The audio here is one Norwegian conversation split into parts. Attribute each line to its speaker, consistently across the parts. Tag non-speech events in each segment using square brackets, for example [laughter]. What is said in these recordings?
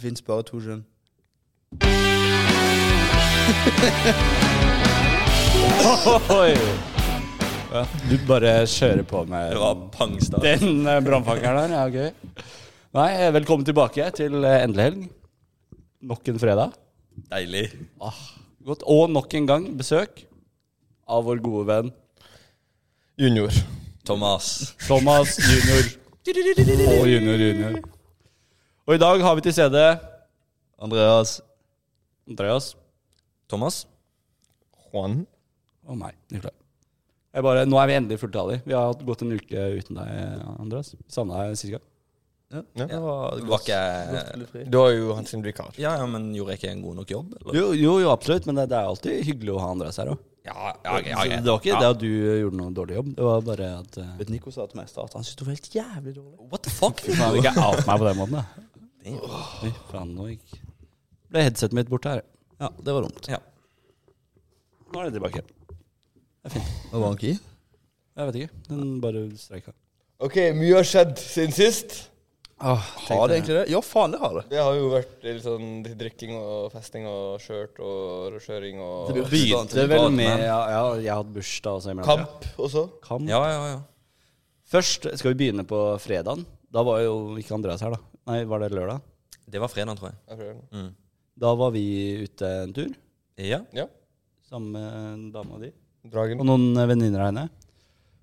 Speaker 1: fins bare to kjønn.
Speaker 2: Oi. Ja, du bare kjører på med
Speaker 3: Det var pangstart.
Speaker 2: den eh, brannfakeren der. Ja, gøy. Nei, eh, velkommen tilbake til eh, endelig helg. Nok en fredag.
Speaker 3: Deilig.
Speaker 2: Ah, godt. Og nok en gang besøk av vår gode venn
Speaker 4: Junior.
Speaker 3: Thomas.
Speaker 2: Thomas junior. Og junior junior. Og i dag har vi til stede
Speaker 1: Andreas.
Speaker 2: Andreas
Speaker 3: Thomas?
Speaker 4: Juan.
Speaker 2: og meg. Nikolai. Jeg bare, nå er vi endelig fulltallige. Vi har hatt gått en uke uten deg, Andreas. Savna deg sist gang.
Speaker 4: Ja.
Speaker 3: Ja, var ikke jeg
Speaker 4: Du har jo hans vikar.
Speaker 3: ja, ja, men gjorde jeg ikke en god nok jobb? Eller?
Speaker 2: Jo, jo, jo absolutt, men det, det er alltid hyggelig å ha Andreas her òg.
Speaker 3: Ja, ja, ja,
Speaker 2: Så
Speaker 3: ja.
Speaker 2: Det var ikke det at du gjorde noen dårlig jobb, det var bare at eh,
Speaker 1: Vet Nico sa til meg i start han syntes det var helt jævlig dårlig.
Speaker 3: What the fuck?
Speaker 2: Faen, jeg vil ikke out meg på den måten, da. Fy faen, nå gikk ble headsetet mitt borte her.
Speaker 1: Ja, det var dumt.
Speaker 3: Ja.
Speaker 2: Nå er det tilbake.
Speaker 1: Hva var han ikke i?
Speaker 2: Jeg vet ikke. Den bare streika.
Speaker 4: Ok, mye har skjedd siden sist.
Speaker 1: Har det egentlig det? Ja, faen, det har det.
Speaker 4: Det har jo vært litt sånn litt drikking og festing og skjørt og kjøring og
Speaker 1: blir-
Speaker 2: Begynte vel med Ja, ja jeg har hatt bursdag også. i mellom-
Speaker 4: kamp også.
Speaker 2: Kamp.
Speaker 3: ja, ja, ja.
Speaker 2: Først skal vi begynne på fredagen. Da var jo ikke Andreas her, da. Nei, var det lørdag?
Speaker 3: Det var fredag, tror jeg.
Speaker 4: Jeg prøver nå.
Speaker 2: Da var vi ute en tur
Speaker 3: Ja.
Speaker 4: Ja.
Speaker 2: sammen med dama di og
Speaker 4: Dragen.
Speaker 2: noen venninner av henne.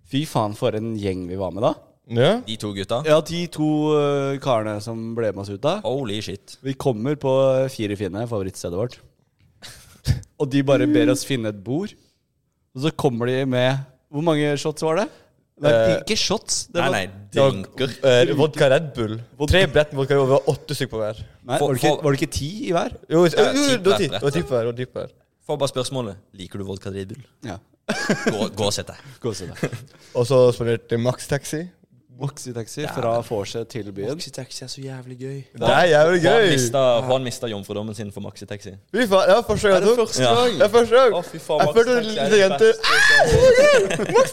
Speaker 2: Fy faen, for en gjeng vi var med, da.
Speaker 4: Ja.
Speaker 3: De to gutta.
Speaker 2: Ja, de to eh, karene som ble med oss ut da
Speaker 3: Holy shit.
Speaker 2: Vi kommer på Fire fine, favorittstedet vårt [laughs] Og de bare ber oss finne et bord Og så kommer de med Hvor mange shots var det? Nei,
Speaker 4: Eh,
Speaker 2: ikke shots det
Speaker 3: Nei,
Speaker 2: var,
Speaker 3: nei, drinker.
Speaker 4: Eh, vodka Red Bull. Tre brett med vodka Red Bull. Vi var åtte stykker på hver.
Speaker 2: nei, var, det ikke, var det ikke ti i hver?
Speaker 4: Jo, jo,
Speaker 3: Ja,
Speaker 4: jo,
Speaker 3: ti
Speaker 4: det var
Speaker 3: brett,
Speaker 4: ti.
Speaker 3: brett,
Speaker 4: Det var ti på hver. det var ti på hver.
Speaker 3: Får bare spørsmålet. Liker du vodka Red Bull?
Speaker 2: Ja,
Speaker 3: Gå, gå og sett deg.
Speaker 2: gå og se det
Speaker 4: Og så spanderte jeg Max Taxi.
Speaker 2: Moxitaxi fra Forse til byen
Speaker 1: Maxitaxi er så jævlig gøy.
Speaker 4: Det er jævlig
Speaker 3: Juan
Speaker 4: gøy.
Speaker 3: mista, Juan mista jomfrudommen sin for maxitaxi.
Speaker 4: Fy faen, det var første gang
Speaker 1: Er
Speaker 4: jeg
Speaker 1: det
Speaker 4: tok.
Speaker 1: første
Speaker 3: Ja.
Speaker 1: gang?
Speaker 4: Det er første gang.
Speaker 1: Å, fy faen,
Speaker 4: Jeg
Speaker 1: Max
Speaker 4: følte en
Speaker 1: Taxi er
Speaker 4: liten
Speaker 1: det
Speaker 4: jente.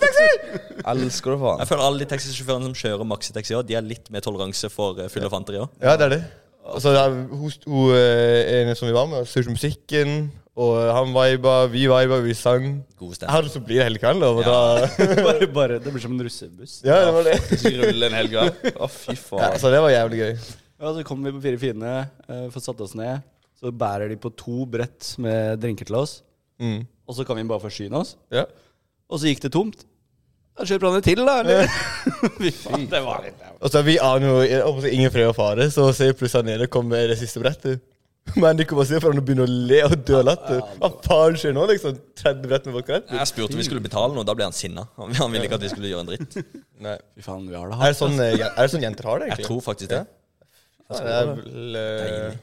Speaker 1: Elsker det, faen.
Speaker 3: Jeg føler alle de taxisjåførene som kjører maxitaxi, også, de har litt mer toleranse for eh, fyll og fanteri òg.
Speaker 4: Ja, det er det. Altså, det er, hun, hun eh, ene som vi var med, styrte musikken, og eh, han viba, vi viba, vi sang.
Speaker 3: God stemning.
Speaker 4: Her så blir det hele kvelden, og da [laughs]
Speaker 2: bare, bare, Det blir som en russebuss
Speaker 4: Ja, det var det.
Speaker 1: Rulle en helg, da. Å, fy
Speaker 4: Ja,
Speaker 1: faen.
Speaker 4: så det var jævlig gøy.
Speaker 2: Ja, så kommer vi på Fire fine eh, Får satt oss ned Så bærer de på to brett med drinker til oss
Speaker 4: Mm.
Speaker 2: Og så kan vi bare forsyne oss
Speaker 4: Ja.
Speaker 2: Og så gikk det tomt. Da kjøper han det til, da. Eller? Fy faen, det var
Speaker 4: Og så vi aner jo jeg håper å si, ingen fred og fare, så ser jeg plutselig han ene komme med det siste brettet. [laughs] Men de kommer og ser for han og begynner å le og dø av latter. Hva faen skjer nå, liksom? 30 brett med vodka? Red Bull?
Speaker 3: Jeg spurte om vi skulle betale noe, da ble han sinna. Han han ville ikke at vi skulle gjøre en dritt.
Speaker 4: Nei.
Speaker 2: [laughs] Fy faen, vi har det
Speaker 4: Er
Speaker 2: hardt.
Speaker 4: det sånn, eh, er det sånn jenter har det,
Speaker 3: Jeg
Speaker 4: egentlig?
Speaker 3: tror faktisk det.
Speaker 4: Ja, det er vel eh,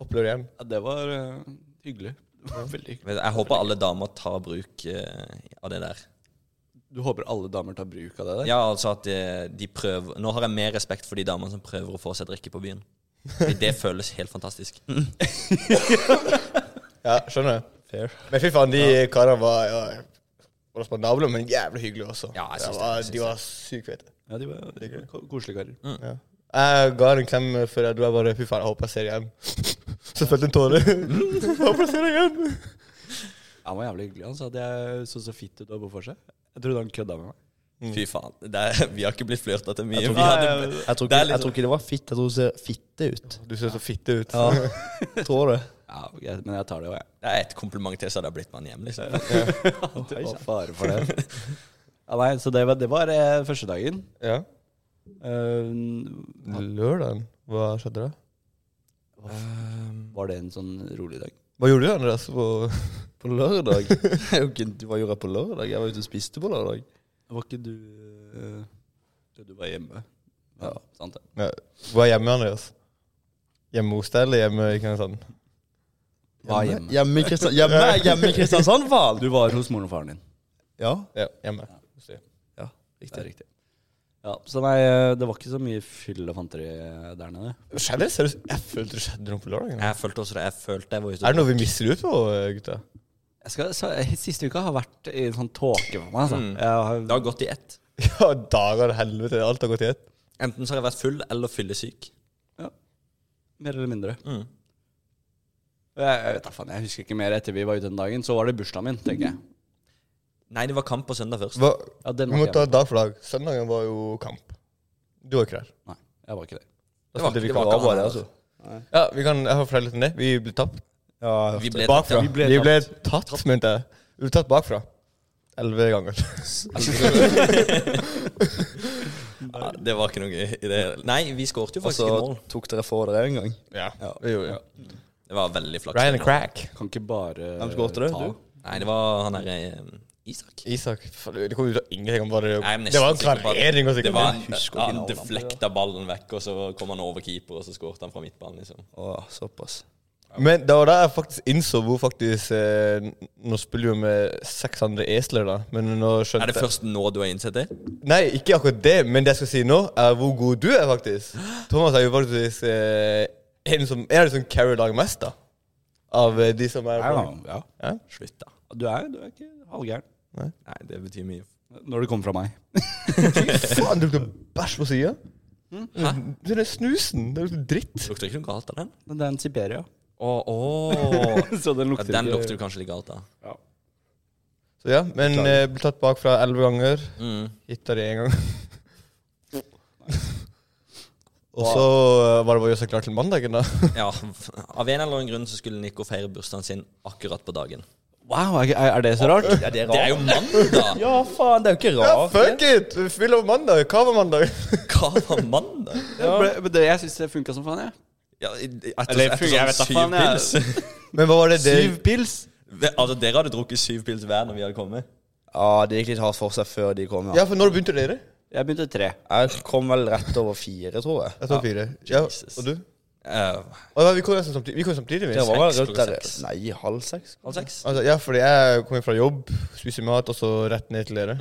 Speaker 4: opplevd igjen.
Speaker 2: Ja, det var eh, hyggelig. Det var Veldig hyggelig.
Speaker 3: Men Jeg håper alle damer tar bruk eh, av det der.
Speaker 2: Du håper alle damer tar bruk av det der?
Speaker 3: Ja, altså at eh, de prøver Nå har jeg mer respekt for de damene som prøver å få seg drikke på byen. Fordi det føles helt fantastisk.
Speaker 4: Ja, skjønner.
Speaker 2: Fair.
Speaker 4: Men fy faen, de karene var ja, respondable, men jævlig hyggelige også.
Speaker 3: Ja, jeg syns det,
Speaker 4: var,
Speaker 3: jeg syns
Speaker 4: de var sykt fete.
Speaker 2: Ja, de var, de var ko- koselige karer.
Speaker 4: Ja. Jeg ga en klem før jeg dro. Jeg bare Fy faen, jeg håper jeg ser deg igjen. [laughs] Så følte jeg en tåre. [laughs] Jeg håper jeg ser deg igjen.
Speaker 2: Han var jævlig hyggelig. Han sa at jeg så så fitt ut av på seg. Jeg trodde han kødda med meg.
Speaker 3: Fy faen. Det er, vi har ikke blitt flørta til mye.
Speaker 1: Jeg tror
Speaker 3: Vi
Speaker 1: ikke-
Speaker 3: hadde,
Speaker 1: Jeg tror
Speaker 3: Det er
Speaker 1: ikke, jeg
Speaker 3: litt
Speaker 1: tror ikke det var fitt. Jeg tror det ser fitte ut.
Speaker 4: Du ser så fitte ut.
Speaker 1: Ja, tror det.
Speaker 2: Ja, greit, men jeg tar det òg, jeg.
Speaker 1: [laughs]
Speaker 3: det er et kompliment til, så hadde jeg blitt med han hjem. liksom
Speaker 2: Det var fare for det. Ja, nei, så det var, det var eh, første dagen.
Speaker 4: Ja.
Speaker 2: Eh,
Speaker 1: Mm.
Speaker 4: Lørdagen, hva skjedde da?
Speaker 2: var det en sånn rolig dag?
Speaker 4: Hva gjorde du, Andreas? På-
Speaker 1: På lørdag? [laughs] Det er jo ikke- Hva gjorde jeg på lørdag? Jeg var ute og spiste på lørdag.
Speaker 2: Var ikke du eh, Du var hjemme. Ja, sant det.
Speaker 4: Ja. Hva er hjemme, Andreas? Hjemme hos deg, eller hjemme i Kristiansand?
Speaker 2: Var hjemme.
Speaker 1: Hjemme i Kristian- hjemme- hjemme
Speaker 2: [laughs]
Speaker 1: i Kristiansand, faen!
Speaker 2: Du var hos moren og faren din.
Speaker 1: Ja,
Speaker 4: Ja, hjemme.
Speaker 1: ja,
Speaker 2: Det
Speaker 1: riktig.
Speaker 2: er riktig. Ja, så nei,
Speaker 1: eh,
Speaker 2: det var ikke så mye fyll og fanteri der nede.
Speaker 4: Skjedde det? Seriøst, jeg følte det skjedde noe på lørdagen.
Speaker 3: Jeg følte også det. Jeg følte jeg var ute
Speaker 4: Er det noe vi mister ut på, gutta?
Speaker 2: Jeg skal, så, eh, siste uka har vært i en sånn tåke for meg. Altså.
Speaker 3: Mm.
Speaker 2: Jeg har,
Speaker 3: Det har gått i ett.
Speaker 4: [laughs] Ja, dager helvete. Alt har gått i ett.
Speaker 3: Enten så har jeg vært full eller fyllesyk.
Speaker 2: Mer eller mindre.
Speaker 3: Mm.
Speaker 2: Jeg, jeg vet da faen, jeg husker ikke mer etter vi var ute den dagen. Så var det bursdagen min, tenker jeg.
Speaker 1: Mm.
Speaker 3: Nei, det var kamp på søndag først.
Speaker 4: Hva,
Speaker 2: Ja, den
Speaker 4: vi
Speaker 2: var
Speaker 4: må
Speaker 2: ikke
Speaker 4: ta
Speaker 2: jeg.
Speaker 4: dag for dag. Søndagen var jo kamp. Du var ikke der.
Speaker 2: Nei, jeg var ikke det.
Speaker 4: Da
Speaker 3: Det var-
Speaker 4: spilte vi
Speaker 3: det var
Speaker 4: Karawa,
Speaker 3: ikke han
Speaker 4: det,
Speaker 3: der,
Speaker 4: altså. Ja, vi kan jeg har flere litt om det. Vi ble tapt.
Speaker 1: Ja,
Speaker 3: Vi ble tatt,
Speaker 4: bakfra.
Speaker 3: ja.
Speaker 4: Vi ble tatt, mente jeg. Vi ble tatt bakfra. Elleve ganger.
Speaker 1: [laughs]
Speaker 3: Ja, det var ikke noe gøy i det hele Nei, vi skåret jo
Speaker 1: og
Speaker 3: faktisk
Speaker 1: så
Speaker 3: ikke mål.
Speaker 1: tok dere få dere en gang.
Speaker 4: Ja. Vi gjorde det.
Speaker 3: Det var veldig flaks.
Speaker 4: Ryan and Crack.
Speaker 2: Kan ikke bare
Speaker 1: Hvem skårte det?
Speaker 2: ta-
Speaker 1: Du?
Speaker 3: Nei, det var han derre eh, Isak.
Speaker 4: Isak faen, Det kom ut av ingenting. Han bare
Speaker 3: Nei, men nesten
Speaker 4: Det var en
Speaker 3: sikker på at-
Speaker 4: klarering. og
Speaker 3: Det
Speaker 4: sikkert-
Speaker 3: var
Speaker 1: husker
Speaker 3: ja,
Speaker 1: ikke
Speaker 3: Han
Speaker 1: navnet.
Speaker 3: deflekta ballen vekk, og så kom han over keeper, og så skåret han fra midtbanen, liksom.
Speaker 1: Å, såpass.
Speaker 4: Men det var da jeg faktisk innså hvor faktisk eh, Nå spiller vi med seks andre esler, da. Men nå skjønte
Speaker 3: Er det først nå du har innsett det?
Speaker 4: Nei, ikke akkurat det, men det jeg skal si nå, er hvor god du er, faktisk. Thomas er jo faktisk eh, en, som, en av de som carrier laget mest, da. Av eh, de som er
Speaker 2: Nei, ja, ja.
Speaker 3: Slutt, da.
Speaker 2: Du er, du er ikke halvgæren.
Speaker 3: Nei, det betyr mye.
Speaker 2: Når det kommer fra meg.
Speaker 4: Faen, det lukter bæsj på sida. Den snusen. Det lukter dritt.
Speaker 3: Lukter ikke noe galt av den?
Speaker 2: Men det er en Siberia.
Speaker 3: Å,
Speaker 2: [laughs] Så den
Speaker 3: ja,
Speaker 2: lukter
Speaker 3: den
Speaker 2: ikke-
Speaker 3: lukter jo kanskje litt galt av.
Speaker 4: Så ja, men
Speaker 2: Beklager.
Speaker 4: eh, ble tatt bakfra elleve ganger.
Speaker 3: Mm.
Speaker 4: Hitta det én gang. Og så eh, var det bare å gjøre seg klar til mandagen, da.
Speaker 3: Ja, av en eller annen grunn så skulle Nico feire bursdagen sin akkurat på dagen.
Speaker 2: Wow, er, er er det så rart?
Speaker 1: Ja, det er
Speaker 3: Det er
Speaker 1: rart.
Speaker 3: jo mandag!
Speaker 1: Ja, faen, det er jo ikke
Speaker 4: Ja, [laughs]
Speaker 1: rart.
Speaker 4: fuck it! Fyll over mandag. Hva var mandag?
Speaker 3: Hva var mandag?
Speaker 2: Det ble, men det, jeg syns det funka som faen, jeg.
Speaker 3: Ja, i- i- etter,
Speaker 2: Eller,
Speaker 3: etter
Speaker 2: jeg vet da
Speaker 3: sånn syv
Speaker 2: faen, jeg-
Speaker 3: pils.
Speaker 2: [laughs]
Speaker 4: Men hva var det det
Speaker 2: Syv pils?
Speaker 3: Ve- Altså, dere hadde drukket syv pils hver når vi hadde kommet.
Speaker 1: Ja, det gikk litt hardt for seg før de kom. Ja.
Speaker 4: Ja, for når begynte dere?
Speaker 2: Jeg begynte tre.
Speaker 1: Jeg kom vel rett over fire, tror jeg.
Speaker 4: Jeg tar fire. Ja,
Speaker 3: Jesus.
Speaker 4: og du?
Speaker 3: Eh,
Speaker 4: Å, ja, vi kom nesten samtidig. Vi kom samtidig vi.
Speaker 1: Det var vel
Speaker 3: Seks,
Speaker 1: rundt
Speaker 3: klokka
Speaker 1: der
Speaker 3: seks.
Speaker 1: Nei, halv seks?
Speaker 3: halv seks.
Speaker 4: Altså, ja, fordi jeg kom inn fra jobb, spiser mat, og så rett ned til dere. Å,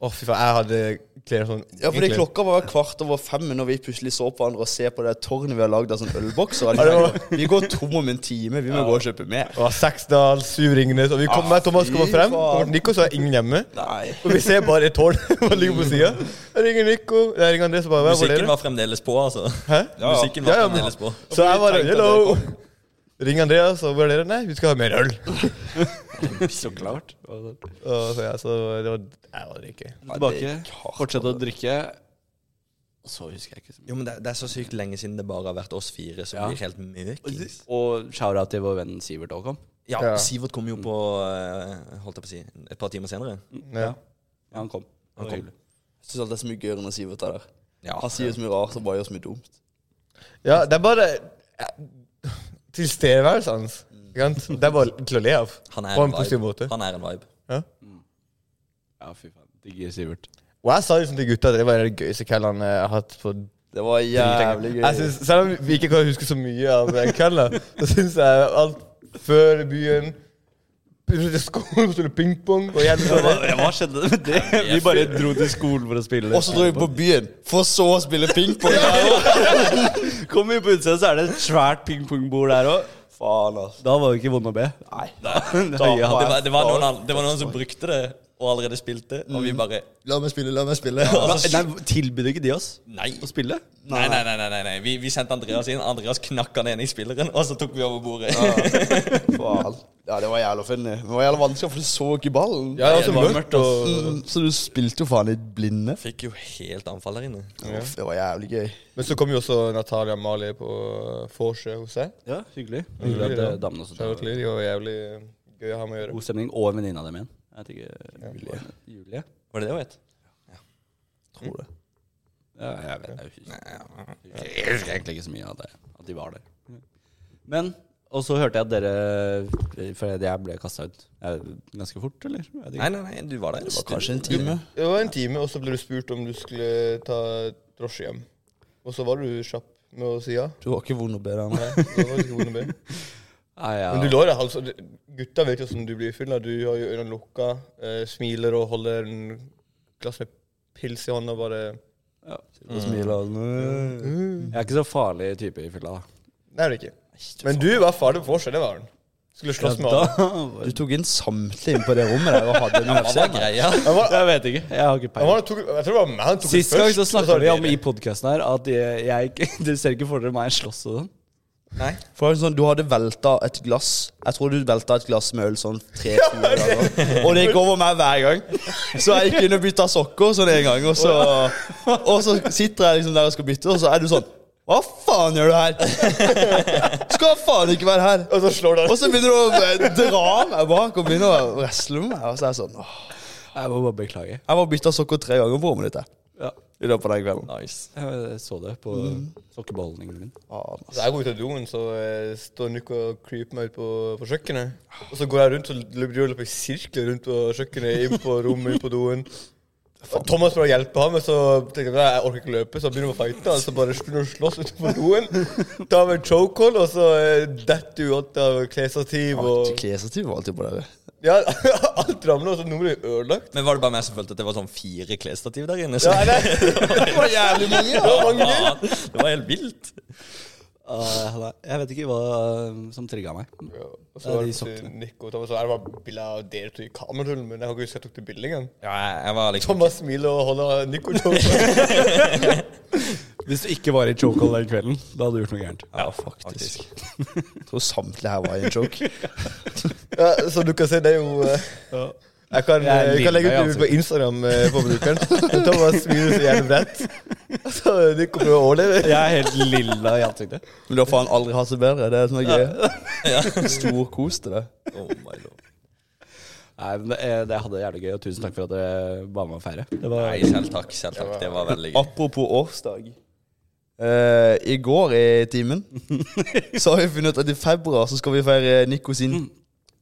Speaker 3: Mm.
Speaker 4: fy faen, jeg hadde klær sånn
Speaker 1: Ja, fordi
Speaker 4: egentlig.
Speaker 1: klokka var kvart over fem når vi plutselig så på hverandre og ser på det tårnet vi har lagd av sånn [laughs] ølbokser.
Speaker 4: Ja, det
Speaker 1: Vi går tom om en time, vi må gå og kjøpe mer.
Speaker 4: Det var Seksdal, Syv Ringnes, og vi kom med Thomas kommer
Speaker 1: Ah, fy
Speaker 4: frem.
Speaker 1: faen.
Speaker 4: Kommer til Nico, så er ingen hjemme.
Speaker 1: Nei.
Speaker 4: Og vi ser bare et tårn [laughs] som ligger på sida. Jeg ringer Nico, jeg ringer André, så bare Hva var
Speaker 3: Musikken
Speaker 4: dere?
Speaker 3: var fremdeles på, altså.
Speaker 4: Hæ?
Speaker 3: [laughs]
Speaker 1: Ja, ja.
Speaker 3: Musikken var
Speaker 4: Ja, ja, men-
Speaker 3: fremdeles på.
Speaker 4: Så jeg
Speaker 1: tenkte
Speaker 4: bare
Speaker 1: at dere
Speaker 4: Hello! Ring Andreas, og hvor er dere? Nei, vi skal ha mer øl.
Speaker 2: [laughs] Så klart.
Speaker 4: Og så, ja, så det var Jeg var ikke
Speaker 2: Tilbake. Fortsette å drikke. Og så husker jeg ikke så mye.
Speaker 3: Jo, men det, det er så sykt lenge siden det bare har vært oss fire som
Speaker 2: Ja.
Speaker 3: blir helt møkings.
Speaker 2: Og shout-out til vår venn Sivert òg kom.
Speaker 3: Ja,
Speaker 4: Ja.
Speaker 3: Sivert kom jo på eh, Holdt jeg på å si et par timer senere.
Speaker 4: Ja.
Speaker 2: Ja, han kom.
Speaker 3: Han
Speaker 2: Han
Speaker 3: kom.
Speaker 2: kom.
Speaker 1: Jeg syns alt er så mye gøyere enn Sivert er der.
Speaker 3: Ja,
Speaker 1: Han sier jo så mye rart og bare gjør så mye dumt.
Speaker 4: Ja, det er bare ja, Tilstedeværelsen hans. ikke sant? Det er bare til å le av.
Speaker 3: han er
Speaker 4: På
Speaker 3: en
Speaker 4: en positiv
Speaker 3: vibe.
Speaker 4: måte.
Speaker 3: Han er en vibe.
Speaker 2: Ja, fy faen. Digger Sivert.
Speaker 4: Og jeg sa liksom til gutta at det var det gøyeste kvelden jeg har hatt på
Speaker 1: Det var jævlig gøy.
Speaker 4: Jeg synes, Selv om vi ikke kan huske så mye av den kvelden, så syns jeg alt før byen Plutselig til skolen, spille pingpong og liksom- igjen så det.
Speaker 2: Hva skjedde med [laughs] det? Vi bare dro til skolen for å spille.
Speaker 1: Og så dro vi på byen, for så å spille pingpong. der.
Speaker 2: [laughs] Kom vi på utsida, så er det et svært pingpongbord der òg.
Speaker 1: Faen, altså.
Speaker 2: Da var det ikke vondt å be. Nei.
Speaker 3: Da, [laughs] det, var, det, var noen, an- det var noen som brukte det, og allerede spilte, og vi bare
Speaker 1: La meg spille, la
Speaker 3: [laughs]
Speaker 1: meg spille.
Speaker 2: Nei, Tilbød ikke de oss
Speaker 3: Nei.
Speaker 2: å spille?
Speaker 3: Nei, nei, nei. nei, nei, nei. Vi, vi sendte Andreas inn. Andreas knakk han ene i spilleren, og så tok vi over bordet. [laughs]
Speaker 1: Faen. Ja, det var jævla funny. Men Det var jævla vanskelig, for du så ikke ballen.
Speaker 4: Ja, det var så mørkt og
Speaker 1: Mm, Så du spilte jo faen i blinde.
Speaker 3: Fikk jo helt anfall der inne.
Speaker 1: Uff, Det var jævlig gøy.
Speaker 4: Men så kom jo også Natalia Mali på vorset hos seg.
Speaker 2: Ja, hyggelig. Hyggelig
Speaker 4: Hyggelig,
Speaker 2: at
Speaker 4: da.
Speaker 2: eh, damene også
Speaker 4: Charlotte Lee, de var jævlig gøy å ha med å gjøre.
Speaker 2: God stemning. Og venninna dem igjen. Jeg vet ikke Julie. Julie?
Speaker 3: Var det det hun het?
Speaker 1: Tror det.
Speaker 2: Ja, jeg vet jeg husker. Jeg husker egentlig ikke så mye av det. At de var der. Men Og så hørte jeg at dere eh, For jeg ble kasta ut. Er det Ganske fort, eller? Jeg vet ikke.
Speaker 3: Nei, nei, nei, du var der.
Speaker 1: Det var kanskje en time.
Speaker 4: Det var en time, og så ble du spurt om du skulle ta drosje hjem. Og så var du kjapp med å si ja.
Speaker 1: Du var ikke vond å be deg
Speaker 4: Nei, det var ikke vond å be.
Speaker 2: [laughs] Nei, ja.
Speaker 4: Men du lå der, altså. det- Gutta vet jo hvordan du blir full. da. Du har jo øynene lukka, eh, smiler og holder en glass med pils i hånda og bare
Speaker 2: ja.
Speaker 1: Og smiler og sånn.
Speaker 4: mm.
Speaker 2: Jeg er ikke så farlig type i fylla, da.
Speaker 4: Nei, det er det ikke. Men du var farlig på vorset, det var han. Skulle slåss med alle.
Speaker 2: [laughs] Da,
Speaker 1: Du tok inn samtlige inn på det rommet der og hadde en
Speaker 3: Hva var
Speaker 1: UFC-match.
Speaker 3: [laughs] greia?
Speaker 4: Jeg, var,
Speaker 2: jeg vet ikke. Jeg har ikke
Speaker 4: jeg,
Speaker 2: peiling.
Speaker 4: var, tok, jeg tror det var meg han tok
Speaker 2: Sist gang så snakka vi om
Speaker 4: det
Speaker 2: i podkasten her at jeg, jeg ikke [laughs] Dere ser ikke for dere meg slåss og sånn?
Speaker 4: Nei.
Speaker 1: For det er sånn, Du hadde velta et glass. Jeg tror du velta et glass med øl sånn tre-fire ganger. Og det gikk over meg hver gang. Så jeg gikk inn og bytta sokker sånn en gang. Og så, og så sitter jeg liksom der og skal bytte, og så er du sånn Hva faen gjør du her? [laughs] Skal faen ikke være her.
Speaker 4: Og så slår
Speaker 1: Og
Speaker 4: han.
Speaker 1: så begynner du å eh, dra meg bak og begynner å wrestle med meg. Og så er jeg sånn åh.
Speaker 2: Jeg må bare beklage.
Speaker 1: Jeg var bytta sokker tre ganger på rommet ditt jeg,
Speaker 2: Ja, Mm.
Speaker 1: i løpet av den kvelden.
Speaker 3: Nice.
Speaker 2: jeg så det på sokkebeholdningen min.
Speaker 1: Faen, ass.
Speaker 4: Så jeg går ut av doen, så eh, står Nico og creeper meg ut på, på kjøkkenet. Og så går jeg rundt og løper løper i sirkler rundt på kjøkkenet, inn på rommet, inn på doen. Og Thomas prøver å hjelpe ham, men så tenker jeg nei, jeg orker ikke løpe, så jeg begynner å fighte. Og så bare begynner å slåss utenfor doen. Tar meg en chokehold, og så eh, detter hun ut av klesstativ og
Speaker 1: Klesstativ var alltid på dere.
Speaker 4: Ja, [laughs] alt ramler, og så nummeret er ødelagt.
Speaker 3: Men var det bare meg som følte at det var sånn fire klesstativ der inne? Så.
Speaker 4: Ja, [laughs] nei, det
Speaker 3: [laughs]
Speaker 4: var jævlig mye. Det var mange
Speaker 3: Ja, det var helt vilt.
Speaker 2: Ah, nei, jeg vet ikke hva eh, som trigga meg.
Speaker 4: Og
Speaker 2: Nei,
Speaker 4: så var
Speaker 2: de
Speaker 4: det til
Speaker 2: sokkene.
Speaker 4: Nico og Thomas, og det var bilder av dere to i kamerarullen, men jeg har ikke huske jeg tok det bildet engang.
Speaker 3: Ja, jeg var liksom
Speaker 4: Thomas smiler og holder Nico choker.
Speaker 2: Hvis du ikke var i chokehold den kvelden, da hadde du gjort noe gærent.
Speaker 3: Ja,
Speaker 1: faktisk. Jeg tror samtlige her var i en joke.
Speaker 4: Ja, som du kan se, det er jo eh, Jeg kan, eh,
Speaker 2: Jeg er
Speaker 4: jeg kan legge ut
Speaker 2: livredd,
Speaker 4: det ut på Instagram eh, på brukeren. Men Thomas smiler så jævlig bredt. Så Nico prøver å overleve.
Speaker 2: Jeg er helt lilla i ansiktet.
Speaker 1: Men du har faen aldri hatt det bedre. Det er sånn gøy. Stor kos til det.
Speaker 3: Oh my lord.
Speaker 2: Nei, men det, eh, det hadde jævlig gøy, og tusen takk for at dere ba meg å feire. Det var
Speaker 3: Nei, selv takk. Selv takk. Det var veldig [laughs] gøy.
Speaker 1: Apropos årsdag. Eh, I går i timen så har vi funnet ut at i februar så skal vi feire Nico sin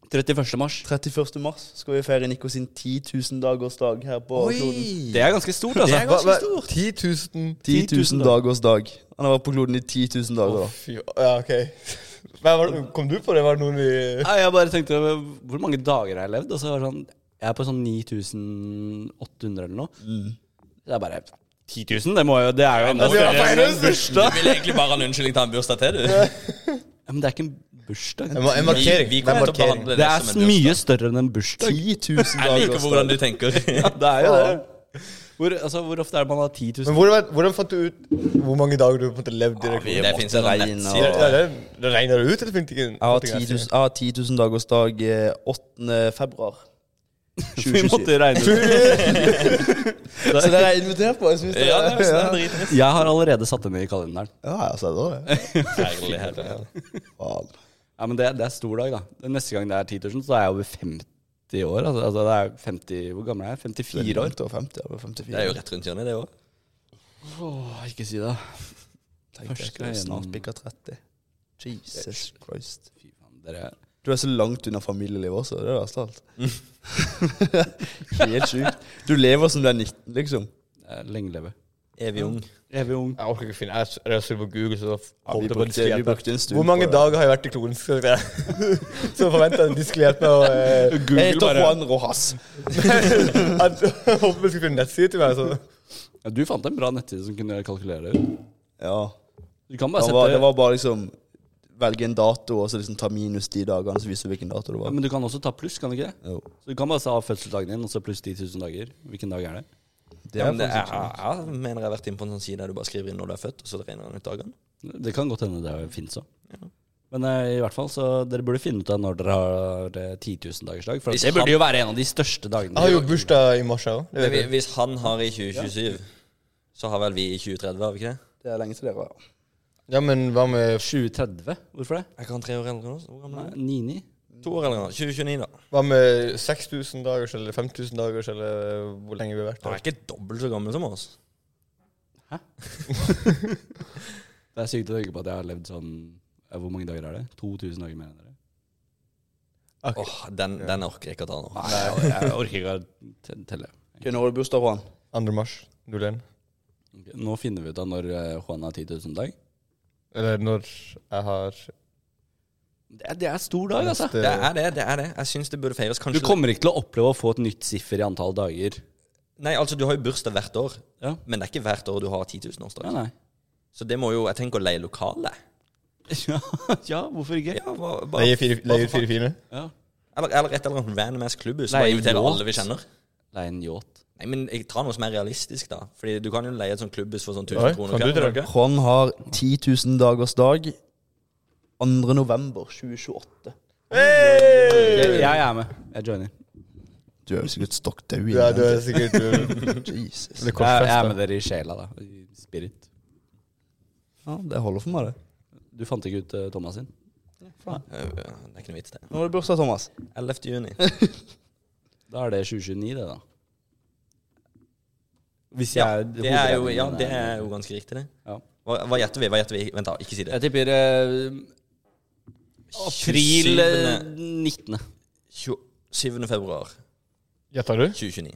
Speaker 2: 31. mars.
Speaker 1: 31. mars skal vi feire Nico sin 10 000 dagers dag her på kloden.
Speaker 2: Det er ganske stort, altså.
Speaker 3: Det er ganske stort.
Speaker 4: 10 000
Speaker 1: 10 000 dagers dag. Han har vært på kloden i 10 000 dager. da
Speaker 4: Fy, ja, OK. Men var, det- kom du på det? Var det noen vi
Speaker 2: Nei, jeg bare tenkte over hvor mange dager har jeg levd? Og så var det sånn, jeg er på sånn 9800 eller noe. Det er bare 10 000, det, må jo, Mm. det er jo enda
Speaker 4: Altså, jeg
Speaker 2: større enn en
Speaker 4: feirer-
Speaker 2: bursdag.
Speaker 3: Du vil egentlig bare ha en unnskyldning til en bursdag til, du.
Speaker 2: Ja, men det er ikke en bursdag.
Speaker 4: En ma- en
Speaker 3: Vi,
Speaker 4: markering.
Speaker 3: vi
Speaker 4: Det er
Speaker 3: kommer til å
Speaker 4: markering.
Speaker 3: behandle
Speaker 2: Det
Speaker 3: det
Speaker 2: er
Speaker 3: som
Speaker 2: så
Speaker 3: en bursdag.
Speaker 2: mye større enn en bursdag.
Speaker 1: 10 000
Speaker 3: Jeg liker
Speaker 1: dagers
Speaker 3: hvordan
Speaker 1: dag.
Speaker 3: du [laughs] tenker.
Speaker 2: Det er jo det. Hvor, altså, hvor ofte er det man har 10 000?
Speaker 4: Men hvordan, hvordan fant du ut hvor mange dager du på en måte levde i det?
Speaker 1: vi-
Speaker 3: Det
Speaker 1: måtte
Speaker 3: fins en sånn
Speaker 1: regne og-
Speaker 4: Ja,
Speaker 3: nettside.
Speaker 4: det, det regner det ut, eller fant du ikke
Speaker 1: Jeg har 10 000 jeg har 10 000 dagers dag eh, 8. februar.
Speaker 2: [laughs] Vi
Speaker 1: 2027.
Speaker 2: måtte regne ut.
Speaker 1: Så dere er invitert på? Jeg synes det
Speaker 3: Ja,
Speaker 1: er
Speaker 3: det er sånn dritfint.
Speaker 2: [laughs] Jeg har allerede satt det ned i kalenderen.
Speaker 1: Ja, jeg ser det.
Speaker 3: sånn. Herlighet.
Speaker 1: Faen.
Speaker 2: Ja, men det, det er stor dag, da. Neste gang det er 10 000, så er jeg over 50 år. Altså, altså det er 50, Hvor gammel er jeg? 54 år?
Speaker 1: Langt over 50, ja, 54.
Speaker 3: Det er jo rett rundt hjørnet, det òg.
Speaker 2: Åh, ikke si det.
Speaker 1: Tenk deg,
Speaker 2: Først
Speaker 1: du er
Speaker 2: greier
Speaker 1: snart
Speaker 2: den-
Speaker 1: bikka 30. Jesus Christ.
Speaker 2: Fy faen, dere
Speaker 1: Du er så langt unna familielivet også. Det er det verste av alt. Helt sjukt. Du lever som du er 19, liksom.
Speaker 2: eh, Lenge leve.
Speaker 3: Evig ung.
Speaker 2: Evig ung.
Speaker 4: Jeg orker ikke finne Jeg jeg søkte på Google, så
Speaker 1: vi,
Speaker 4: kom det på
Speaker 1: brukte, vi brukte en stund
Speaker 4: Hvor mange
Speaker 1: på det.
Speaker 4: dager har jeg vært i kloden? Skal jeg [laughs] så forventa jeg at de skulle hjelpe meg å eh,
Speaker 1: Jeg heter Juan Rojas.
Speaker 4: [laughs] at, Håper de skulle finne nettside til meg. altså. Så.
Speaker 2: Ja, du fant en bra nettside som kunne kalkulere det.
Speaker 1: Ja.
Speaker 2: Du kan bare
Speaker 1: Det
Speaker 2: sette
Speaker 1: var, det var bare liksom Velge en dato og så liksom ta minus de dagene, så viser du hvilken dato det
Speaker 2: ja,
Speaker 1: var.
Speaker 2: Men du kan også ta pluss, kan du ikke det?
Speaker 1: Jo.
Speaker 2: Så du kan bare ta fødselsdagen din, og så pluss 10 000 dager. Hvilken dag er det?
Speaker 1: Det
Speaker 3: Ja,
Speaker 1: er
Speaker 3: men det,
Speaker 1: faktisk
Speaker 3: jeg,
Speaker 1: ikke sant.
Speaker 3: jeg mener jeg har vært inne på en sånn side der du bare skriver inn når du er født, og så regner den ut dagene.
Speaker 2: Det kan godt hende det fins òg. Men eh, i hvert fall, så dere burde finne ut av når dere har eh, 10 000-dagersdag. For Ah,
Speaker 3: Hvis
Speaker 2: det burde
Speaker 3: han-
Speaker 2: jo være en av de største dagene.
Speaker 4: Jeg har jo bursdag i mars jeg også, det
Speaker 3: Men vi,
Speaker 4: vet du.
Speaker 3: hvis han har i 2027, så har vel vi i 2030, har vi ikke det?
Speaker 1: Det er lenge til dere. ja.
Speaker 4: Ja, men hva med,
Speaker 2: 2030? Hvorfor det?
Speaker 3: Jeg kan tre år eldre nå. så Hvor gammel
Speaker 2: Nei,
Speaker 3: er jeg?
Speaker 2: 99?
Speaker 3: To år eldre nå. 2029, da.
Speaker 4: hva med 6000 dagers eller 5000 dagers eller hvor lenge vi har vært
Speaker 3: Han
Speaker 4: der?
Speaker 3: er ikke dobbelt så gammel som oss.
Speaker 2: Det er sykt å tenke på at jeg har levd sånn eh, Hvor mange dager er det? 2000 dager mer enn dere?
Speaker 4: Ok.
Speaker 3: Åh, den, den orker jeg ikke å ta nå.
Speaker 2: Nei, jeg, jeg orker ikke å te- telle.
Speaker 1: Ok, Når har du bursdag, Juan?
Speaker 4: 2. mars 01.
Speaker 2: Ok, Nå finner vi ut av når eh, Juan har 10 000 dag.
Speaker 4: Eller når jeg har
Speaker 2: Det er, det er stor dag, altså.
Speaker 4: neste
Speaker 3: Det er det. det er det Jeg syns det burde feires.
Speaker 2: Du
Speaker 3: Kanskje
Speaker 2: kommer ikke til å oppleve å få et nytt siffer i antall dager.
Speaker 3: Nei, altså, du har jo bursdag hvert år,
Speaker 2: Ja.
Speaker 3: men det er ikke hvert år du har 10 000 årsdag.
Speaker 2: Nei, nei.
Speaker 3: Så det må jo Jeg tenker å leie lokale.
Speaker 2: Ja, [laughs] ja hvorfor ikke?
Speaker 3: Ja, bare, bare,
Speaker 4: Leie fire,
Speaker 3: bare
Speaker 4: leie
Speaker 3: for
Speaker 4: ut fire fine.
Speaker 2: Ja.
Speaker 3: faen. eller, eller et eller annet random ass klubbhus.
Speaker 2: Nei,
Speaker 3: Bare inviterer
Speaker 2: yacht.
Speaker 3: alle vi kjenner.
Speaker 2: Leie en yacht.
Speaker 3: Nei, men jeg tar noe som er realistisk, da. Fordi du kan jo leie et sånt klubbhus for sånn 1000
Speaker 4: Oi,
Speaker 3: kroner.
Speaker 4: kan du
Speaker 3: kan
Speaker 4: det?
Speaker 1: Juan har 10 000 dagers dag 2. november 2028.
Speaker 2: Jeg,
Speaker 4: Hey!
Speaker 2: jeg er med. Jeg joiner.
Speaker 1: Du er jo sikkert stokk dau
Speaker 4: Ja, du er sikkert du,
Speaker 1: [laughs] Jesus.
Speaker 2: Jeg,
Speaker 4: det er
Speaker 2: jeg
Speaker 4: korsfest,
Speaker 2: er
Speaker 4: da.
Speaker 2: med dere i sjela, da. I spirit.
Speaker 1: Ja, det holder for meg, det.
Speaker 2: Du fant ikke ut eh, Thomas sin?
Speaker 3: Eh, Det er ikke noe vits, det.
Speaker 1: Nå er det bursdag, Thomas.
Speaker 3: 11. juni.
Speaker 2: Da er det 2029, det, da. Hvis
Speaker 3: Ja,
Speaker 2: jeg
Speaker 3: det er jo, ja, det er jo ganske riktig, det.
Speaker 2: Ja.
Speaker 3: Hva, hva gjetter vi? Hva gjetter vi? Vent, da. Ikke si det.
Speaker 2: Jeg tipper eh, april eh, 19.
Speaker 3: 27. februar
Speaker 4: Gjetter du?
Speaker 3: 2029.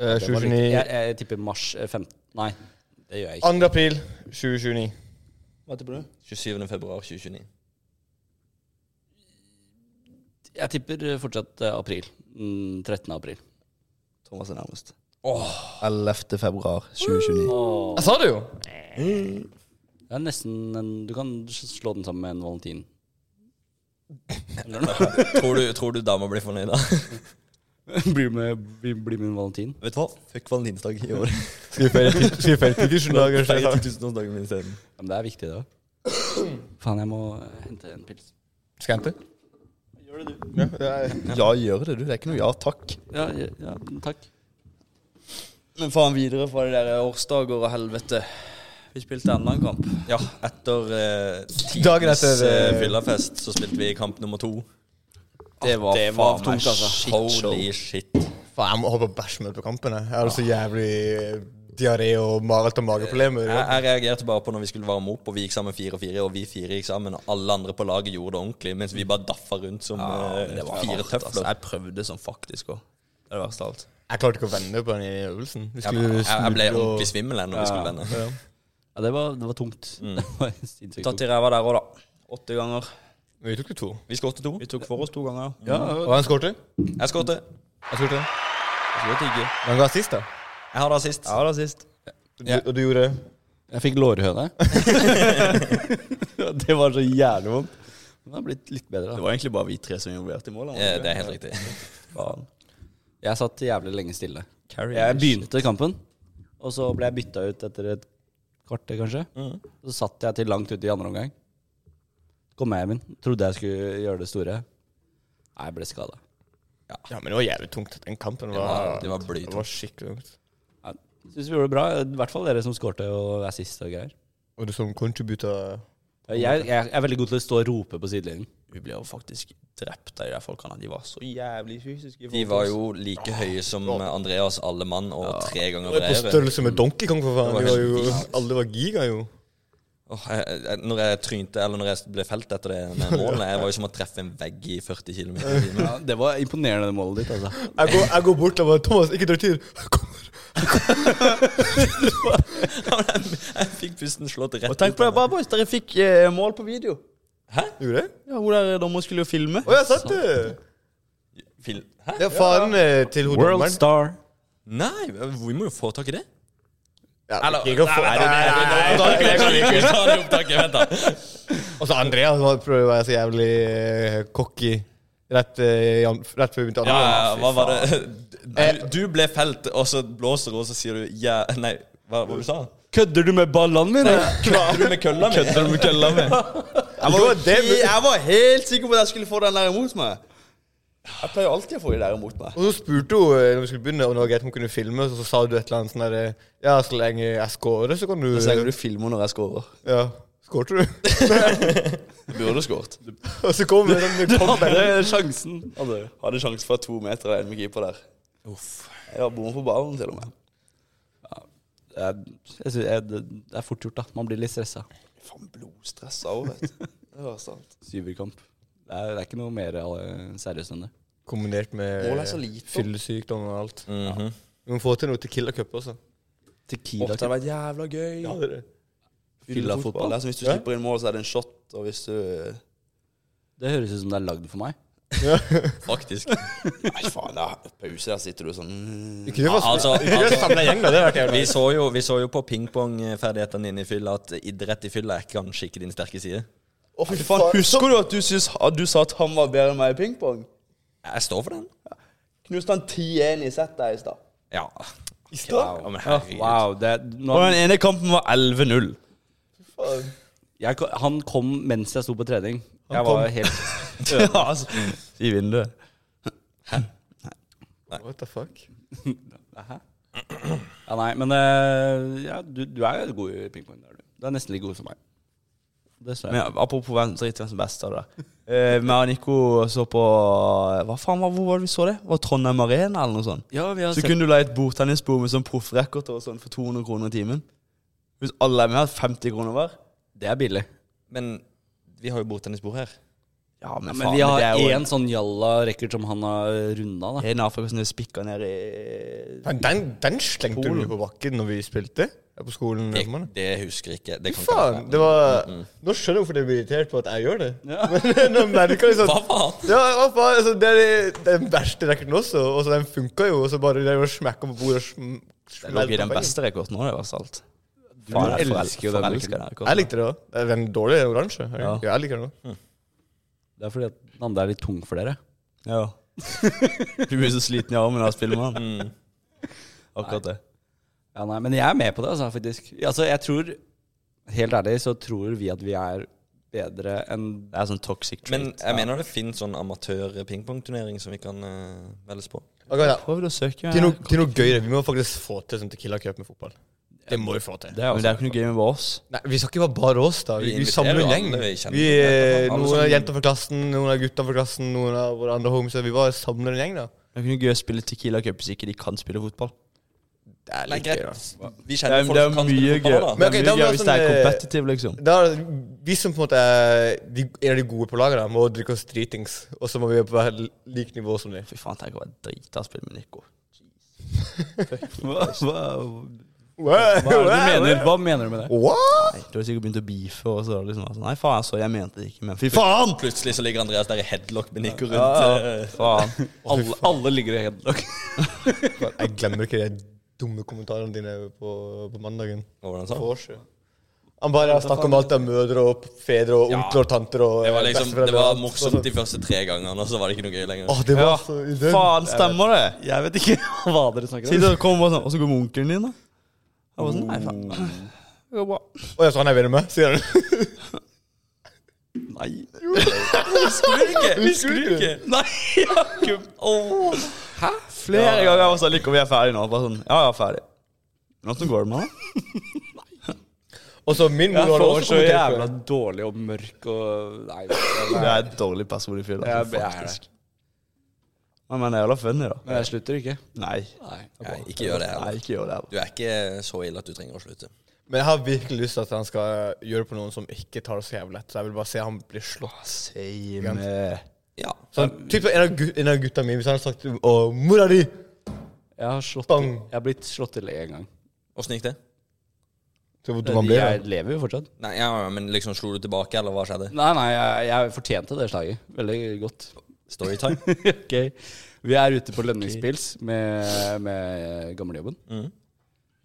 Speaker 4: Eh,
Speaker 2: Det var riktig.
Speaker 4: 2029.
Speaker 2: Jeg, jeg tipper mars eh, 15. Nei, det gjør jeg ikke.
Speaker 4: 2. april 2029.
Speaker 1: Hva tipper du?
Speaker 3: 27. februar 2029.
Speaker 2: Jeg tipper eh, fortsatt eh, april. Mm, 13. april.
Speaker 1: Thomas er nærmest. 11. februar 2029.
Speaker 4: Jeg sa det jo!
Speaker 2: Det er nesten en, Du kan s- slå den sammen med en valentin.
Speaker 3: Tror du, tror du dama blir
Speaker 4: [laughs]
Speaker 3: fornøyd, da?
Speaker 2: [laughs] bli, med, bli, bli med en valentin.
Speaker 3: Vet du hva? Fuck valentinsdag i år.
Speaker 4: Skal vi feire ti- skal vi feire 10 000 dager? så jeg
Speaker 3: Feirer
Speaker 4: sa-
Speaker 3: 1000-årsdagen min isteden.
Speaker 2: Ja, Men det er viktig, det òg. [coughs] Faen, jeg må eh, hente en pils.
Speaker 4: Skal jeg hente? Gjør det, du. Ja, det er-
Speaker 1: [laughs] Ja, gjør det, du. Det er ikke noe ja takk.
Speaker 2: Ja, ja, ja takk.
Speaker 1: Men faen videre fra de der årsdager og helvete. Vi spilte enda en kamp.
Speaker 3: Ja, etter eh, tidens
Speaker 4: Dagen etter, eh,
Speaker 3: eh, fyllafest så spilte vi kamp nummer to. Ah,
Speaker 1: Det var,
Speaker 2: det var
Speaker 1: faen
Speaker 2: tungt,
Speaker 1: meg
Speaker 2: altså.
Speaker 1: shitshow.
Speaker 3: Holy shit.
Speaker 4: Faen, jeg må holde på å bæsje meg på kampen. Jeg Jeg hadde så jævlig eh, diaré og mareritt og mageproblemer.
Speaker 3: Jeg, jeg reagerte bare på når vi skulle varme opp, og vi gikk sammen fire og fire, og vi fire gikk sammen, og alle andre på laget gjorde det ordentlig, mens vi bare daffa rundt som eh,
Speaker 1: Det var
Speaker 3: fire
Speaker 1: hardt, altså.
Speaker 3: tøfler.
Speaker 1: Jeg prøvde sånn faktisk òg. Det er det verste av alt.
Speaker 4: Jeg klarte ikke å vende på den i øvelsen. Vi
Speaker 3: Jeg, jeg, jeg ble
Speaker 4: snuble og-
Speaker 3: ordentlig svimmel her når vi skulle vende.
Speaker 4: Ja.
Speaker 2: Ja, det var, det var tungt. [laughs] Det var sinnssykt tungt.
Speaker 1: Tatt i ræva der òg, da. Åtte ganger.
Speaker 4: Men vi tok jo to.
Speaker 3: Vi skåret to.
Speaker 1: Vi tok for oss to ganger.
Speaker 2: Ja,
Speaker 4: Og han skårte.
Speaker 3: Jeg skåret.
Speaker 4: Jeg skårte.
Speaker 1: Jeg tror ikke.
Speaker 4: Men han ga sist, da.
Speaker 3: Jeg har det sist.
Speaker 1: Ja, da sist.
Speaker 4: Du, Og du gjorde
Speaker 2: jeg fikk lårhøne. [laughs] det var så jævlig vondt. Men det har blitt litt bedre.
Speaker 1: Det
Speaker 2: da
Speaker 1: var egentlig bare vi tre som involverte i målet.
Speaker 3: Eh, Det er helt riktig.
Speaker 1: Faen.
Speaker 2: Jeg satt jævlig lenge stille.
Speaker 1: Carry
Speaker 2: Jeg begynte kampen, og så ble jeg bytta ut etter et kvarter, kanskje. Så satt jeg til langt ute i andre omgang. Kom jeg hjem inn. Trodde jeg skulle gjøre det store. Nei, jeg ble skada.
Speaker 4: Ja, men det var jævlig tungt. Den kampen var,
Speaker 3: Ja, det var blytungt.
Speaker 4: Det var skikkelig tungt.
Speaker 2: Syns vi gjorde det bra. I hvert fall dere som skårte og assist og greier.
Speaker 4: Og du som contributa
Speaker 2: Jeg, jeg er veldig god til å stå og rope på sidelinjen.
Speaker 1: Vi ble jo faktisk drept av de der folkene. De var så jævlig fysiske.
Speaker 3: De
Speaker 1: i forhold til
Speaker 3: var
Speaker 1: oss.
Speaker 3: jo like høye som Andreas alle mann, og tre ganger
Speaker 4: På
Speaker 3: bredere.
Speaker 4: størrelse med Donkey Kong, for
Speaker 3: Det
Speaker 4: faen.
Speaker 3: var
Speaker 4: De var
Speaker 3: helt
Speaker 4: jo,
Speaker 3: vilt.
Speaker 4: alle var giga, jo.
Speaker 3: Åh, jeg, jeg, når jeg trynte, eller når jeg ble felt etter det med målene, jeg var jo som å treffe en vegg i 40 km i
Speaker 2: [laughs]
Speaker 3: timen.
Speaker 2: Ja, det var imponerende det målet ditt, altså.
Speaker 4: Jeg går, jeg går bort og bare 'Thomas, ikke dra til'.
Speaker 3: Jeg, jeg fikk pusten slått rett
Speaker 1: Og tenk på det, bare boys, dere fikk eh, mål på video.
Speaker 4: Gjorde jeg?
Speaker 1: Ja, Hun der dommeren skulle jo filme.
Speaker 4: Å, jeg satt det!
Speaker 3: Fil- Hæ?
Speaker 4: Ja, faren eh, til hodedommeren.
Speaker 2: Star.
Speaker 3: Nei, vi må jo få tak i det.
Speaker 4: Ja, det gikk ikke å få- Nei, nei, nei, nei, nei.
Speaker 3: Vi tar det i opptaket, vent da.
Speaker 4: Og så Andrea som prøver å være så jævlig eh, cocky rett, eh, i an- rett før vi begynte
Speaker 3: Ja,
Speaker 4: andre
Speaker 3: ja,
Speaker 4: gang.
Speaker 3: hva var det? Du, Eh, du ble felt, og så blåser du, og så sier du ja Nei, hva var det du sa?
Speaker 2: Kødder du med ballene mine?
Speaker 3: Kødder du med kølla mi? Kødder du med kølla mi?
Speaker 1: Jeg var, he- jeg var helt sikker på at jeg skulle få den der imot meg. Jeg pleier jo alltid å få de der imot meg.
Speaker 4: Og så spurte hun eh, når vi skulle begynne om det var greit om hun kunne filme, og så sa du et eller annet sånn der eh, Ja, så lenge jeg scorer, så kan du
Speaker 1: Så lenge du filmer når jeg scorer.
Speaker 4: Ja. Skårte du? [laughs]
Speaker 1: Du burde skåret. Du
Speaker 4: og så kom sånn, den med comeback.
Speaker 2: Hadde [laughs] sjansen.
Speaker 1: hadde, hadde sjanse fra to meter og en med keeper der. Jeg var bommet på ballen, til og med.
Speaker 2: Jeg, jeg, synes- jeg, det er fort gjort, da. Man blir litt stressa.
Speaker 1: Faen, blodstressa òg, vet du. [laughs] Det var sant.
Speaker 2: Syverkamp. Det er, det er ikke noe mer eh, seriøst enn det.
Speaker 4: Kombinert med
Speaker 1: Målet er så lite.
Speaker 4: fyllesykdom og alt.
Speaker 3: Mhm.
Speaker 4: Vi må få til noe til Killer Cup også.
Speaker 1: Ofte
Speaker 2: Tequila
Speaker 1: har det vært jævla gøy.
Speaker 4: Ja, det er det.
Speaker 1: Fylla fotball. Det er som hvis du
Speaker 4: Ja.
Speaker 1: slipper inn mål, så er det en shot, og hvis du
Speaker 2: Det høres ut som det er lagd for meg.
Speaker 3: Faktisk.
Speaker 1: Nei, faen, da. Pause, der sitter du sånn
Speaker 4: Vi kunne jo bare
Speaker 3: Altså,
Speaker 4: altså,
Speaker 3: altså
Speaker 4: samla gjeng, da. Det hadde vært
Speaker 3: vi,
Speaker 4: jævlig.
Speaker 3: så jo, vi så jo på pingpongferdighetene dine i fylla at idrett i fylla er kanskje ikke din sterke side.
Speaker 4: Å, fy
Speaker 1: Faen,
Speaker 4: faen.
Speaker 1: husker du at du, syns, at du sa at han var bedre enn meg i pingpong?
Speaker 3: Jeg står for den.
Speaker 1: Knuste han 10-1 i settet her i stad.
Speaker 3: Ja.
Speaker 4: stad?
Speaker 3: Ja, men
Speaker 2: Ja,
Speaker 3: herregud.
Speaker 2: wow, det, nå,
Speaker 1: Og den ene kampen var 11-0.
Speaker 4: Faen.
Speaker 2: jeg, ko- han kom mens jeg sto på trening. Jeg
Speaker 4: kom.
Speaker 2: var helt
Speaker 1: [laughs] Ja, altså. I vinduet.
Speaker 4: What the fuck?
Speaker 2: Ja, nei, men eh, ja, du, du er jo god i pingpong. det er Du. du er nesten like god som meg. Det ser jeg.
Speaker 1: Men apropos hvem drit i hvem som er best av det. Eh, meg og Nico så på eh, Hva faen var, hvor var det vi så det? Var det Trondheim Arena eller noe sånt?
Speaker 2: Ja, vi har
Speaker 1: Så
Speaker 2: sett
Speaker 1: kunne du leie et bordtennisbord med sånn proffrecord og sånn for 200 kroner i timen. Hvis alle er med, hadde 50 kroner hver.
Speaker 2: Det er billig.
Speaker 3: Men vi har jo bordtennisbord her.
Speaker 1: Ja,
Speaker 2: Ja,
Speaker 1: men, faen,
Speaker 2: men vi
Speaker 1: det
Speaker 2: har
Speaker 1: er jo
Speaker 2: én sånn jalla record som han har runda, da.
Speaker 1: En Afrika som er spikka ned i
Speaker 4: Men den, den slengte
Speaker 1: Polen.
Speaker 4: du på bakken når vi spilte her på skolen.
Speaker 3: Det,
Speaker 4: hjemme, da.
Speaker 3: det husker jeg ikke. Det Sånn
Speaker 4: Fy
Speaker 3: kan
Speaker 4: faen!
Speaker 3: ikke
Speaker 4: Det
Speaker 3: være. Mm,
Speaker 4: var Nå skjønner jeg hvorfor jeg blir irritert på at jeg gjør det. [laughs] Men nå merker jeg sånn
Speaker 3: Hva faen?
Speaker 4: Ja, hva faen? Altså, det er den verste racketen også, og så den funka jo, og så bare det er jo å smekke på bordet og sm
Speaker 1: Det lå i den
Speaker 4: på benken.
Speaker 1: beste rekorden nå, det var salt. Du
Speaker 2: elsker jo den rekorden.
Speaker 4: Jeg likte det òg. Den dårlige er oransje. er det ikke? Ja, jeg liker den òg.
Speaker 2: Det er fordi at den andre er litt tung for dere.
Speaker 1: Ja. [laughs] du blir så sliten i armen av å spille med han.
Speaker 2: Mm.
Speaker 1: Akkurat det.
Speaker 2: Ja, nei, men jeg er med på det, altså, faktisk. Altså, jeg tror Helt ærlig så tror vi at vi er bedre enn
Speaker 1: Det er sånn toxic
Speaker 3: Men
Speaker 1: trait.
Speaker 3: jeg mener det finnes sånn amatør-pingpongturnering som vi kan eh, velges på.
Speaker 4: Okay, da.
Speaker 1: Prøv å søke.
Speaker 4: Til, noe, til noe gøyere. Vi må faktisk få til sånn Tequila Cup med fotball. Det må vi få til.
Speaker 1: Det er, men det er ikke noe gøy med bare oss.
Speaker 4: Nei, Vi skal ikke være bare oss, da. Vi,
Speaker 3: Vi
Speaker 4: vi samler jo
Speaker 3: inviterer
Speaker 4: gjeng.
Speaker 3: jo alle vi kjenner.
Speaker 4: Vi, eh,
Speaker 3: Alle
Speaker 4: noen
Speaker 3: sammen.
Speaker 4: av jenter fra klassen, noen av gutta fra klassen, noen av våre andre homies. Vi bare samler en gjeng, da.
Speaker 1: Det er ikke noe gøy å spille Tequila Cup hvis ikke de kan spille fotball.
Speaker 4: Det er
Speaker 3: Nei,
Speaker 4: litt gøy, da.
Speaker 3: greit. Vi
Speaker 1: Det
Speaker 3: kjenner
Speaker 1: er,
Speaker 3: folk
Speaker 1: det er
Speaker 3: som kan
Speaker 1: mye
Speaker 3: spille
Speaker 1: gøy
Speaker 3: fotball,
Speaker 1: Det
Speaker 4: Men
Speaker 3: da.
Speaker 4: ok,
Speaker 1: er mye
Speaker 4: da
Speaker 1: gøy
Speaker 4: var det
Speaker 1: hvis det er
Speaker 4: sånn, eh,
Speaker 1: competitive, liksom.
Speaker 4: Da er det- vi som på en måte er de, en av de gode på laget, da, må drikke oss dritings. Og så må vi være på hver lik nivå som
Speaker 3: [laughs]
Speaker 4: de.
Speaker 1: Fy faen, tenk å være drita av å spille med Nico.
Speaker 2: hva, hva,
Speaker 4: Wow,
Speaker 2: hva, er det du mener? hva mener du med det?
Speaker 4: What?
Speaker 1: Nei, Du har sikkert begynt å beefe, og så er det liksom altså, Nei, faen, så jeg mente det ikke, men fy faen!
Speaker 3: Plutselig så ligger Andreas der i headlock med Nico rundt. eh,
Speaker 1: Faen.
Speaker 2: Alle, alle ligger i headlock.
Speaker 4: Jeg glemmer ikke de dumme kommentarene dine på, på mandagen.
Speaker 3: hva var det han sa?
Speaker 4: For år siden. Han bare snakka om alt av mødre og fedre og onkler og tanter og
Speaker 3: Det var, liksom, det var morsomt de første tre gangene, og så var det ikke noe gøy lenger.
Speaker 4: Å, Altså, det var
Speaker 1: Ja,
Speaker 4: så idømt.
Speaker 1: faen, stemmer det?
Speaker 2: Jeg vet ikke [laughs] hva dere snakker om.
Speaker 1: Sitter og kommer og sånn, og så går onkelen din, da. Jeg var sånn, nei, faen. Det går bra.
Speaker 4: Å, ja, så han er venner med,
Speaker 3: [laughs]
Speaker 4: sier han.
Speaker 2: Nei.
Speaker 3: Husker du ikke?
Speaker 4: Husker du ikke?
Speaker 2: Nei, jeg har ikke
Speaker 1: Flere ganger var det sånn, Nico, vi er ferdige nå. Bare sånn, ja, ja, ferdig. Men åssen går det med han?
Speaker 4: Og så min
Speaker 2: Jeg
Speaker 4: mor har
Speaker 2: får
Speaker 4: også
Speaker 2: så
Speaker 4: kommentert på
Speaker 2: jævla
Speaker 4: det.
Speaker 2: dårlig og mørk og Nei. jeg-
Speaker 1: Det er et dårlig person i fylla,
Speaker 2: Jeg,
Speaker 1: altså,
Speaker 2: jeg, er
Speaker 1: faktisk.
Speaker 2: det.
Speaker 1: Men han er jævla funny, da.
Speaker 2: men jeg slutter ikke.
Speaker 1: Nei.
Speaker 2: Nei.
Speaker 3: Nei, ikke gjør det
Speaker 1: Nei,
Speaker 3: heller.
Speaker 1: ikke gjør det heller.
Speaker 3: Du er ikke så ille at du trenger å slutte.
Speaker 4: Men jeg har virkelig lyst til at han skal gjøre på noen som ikke tar det så jævlig lett. Så jeg vil bare se han bli slått.
Speaker 1: Same.
Speaker 3: Ja.
Speaker 4: Sånn, typ en av, gut, en av gutta mine, hvis han hadde sagt Å, mora di!
Speaker 2: Jeg har slått
Speaker 4: Bang.
Speaker 2: Jeg har blitt slått til én gang.
Speaker 3: Åssen gikk det?
Speaker 4: Så hvor dum han blir.
Speaker 2: Jeg lever jo fortsatt.
Speaker 3: Nei, ja, men liksom Slo du tilbake, eller hva skjedde?
Speaker 2: Nei, nei, jeg, jeg fortjente det slaget. Veldig godt. [laughs]
Speaker 3: [laughs] Storytime?
Speaker 2: ok. Vi er ute på lønningspils med, med gamlejobben.
Speaker 3: Mhm.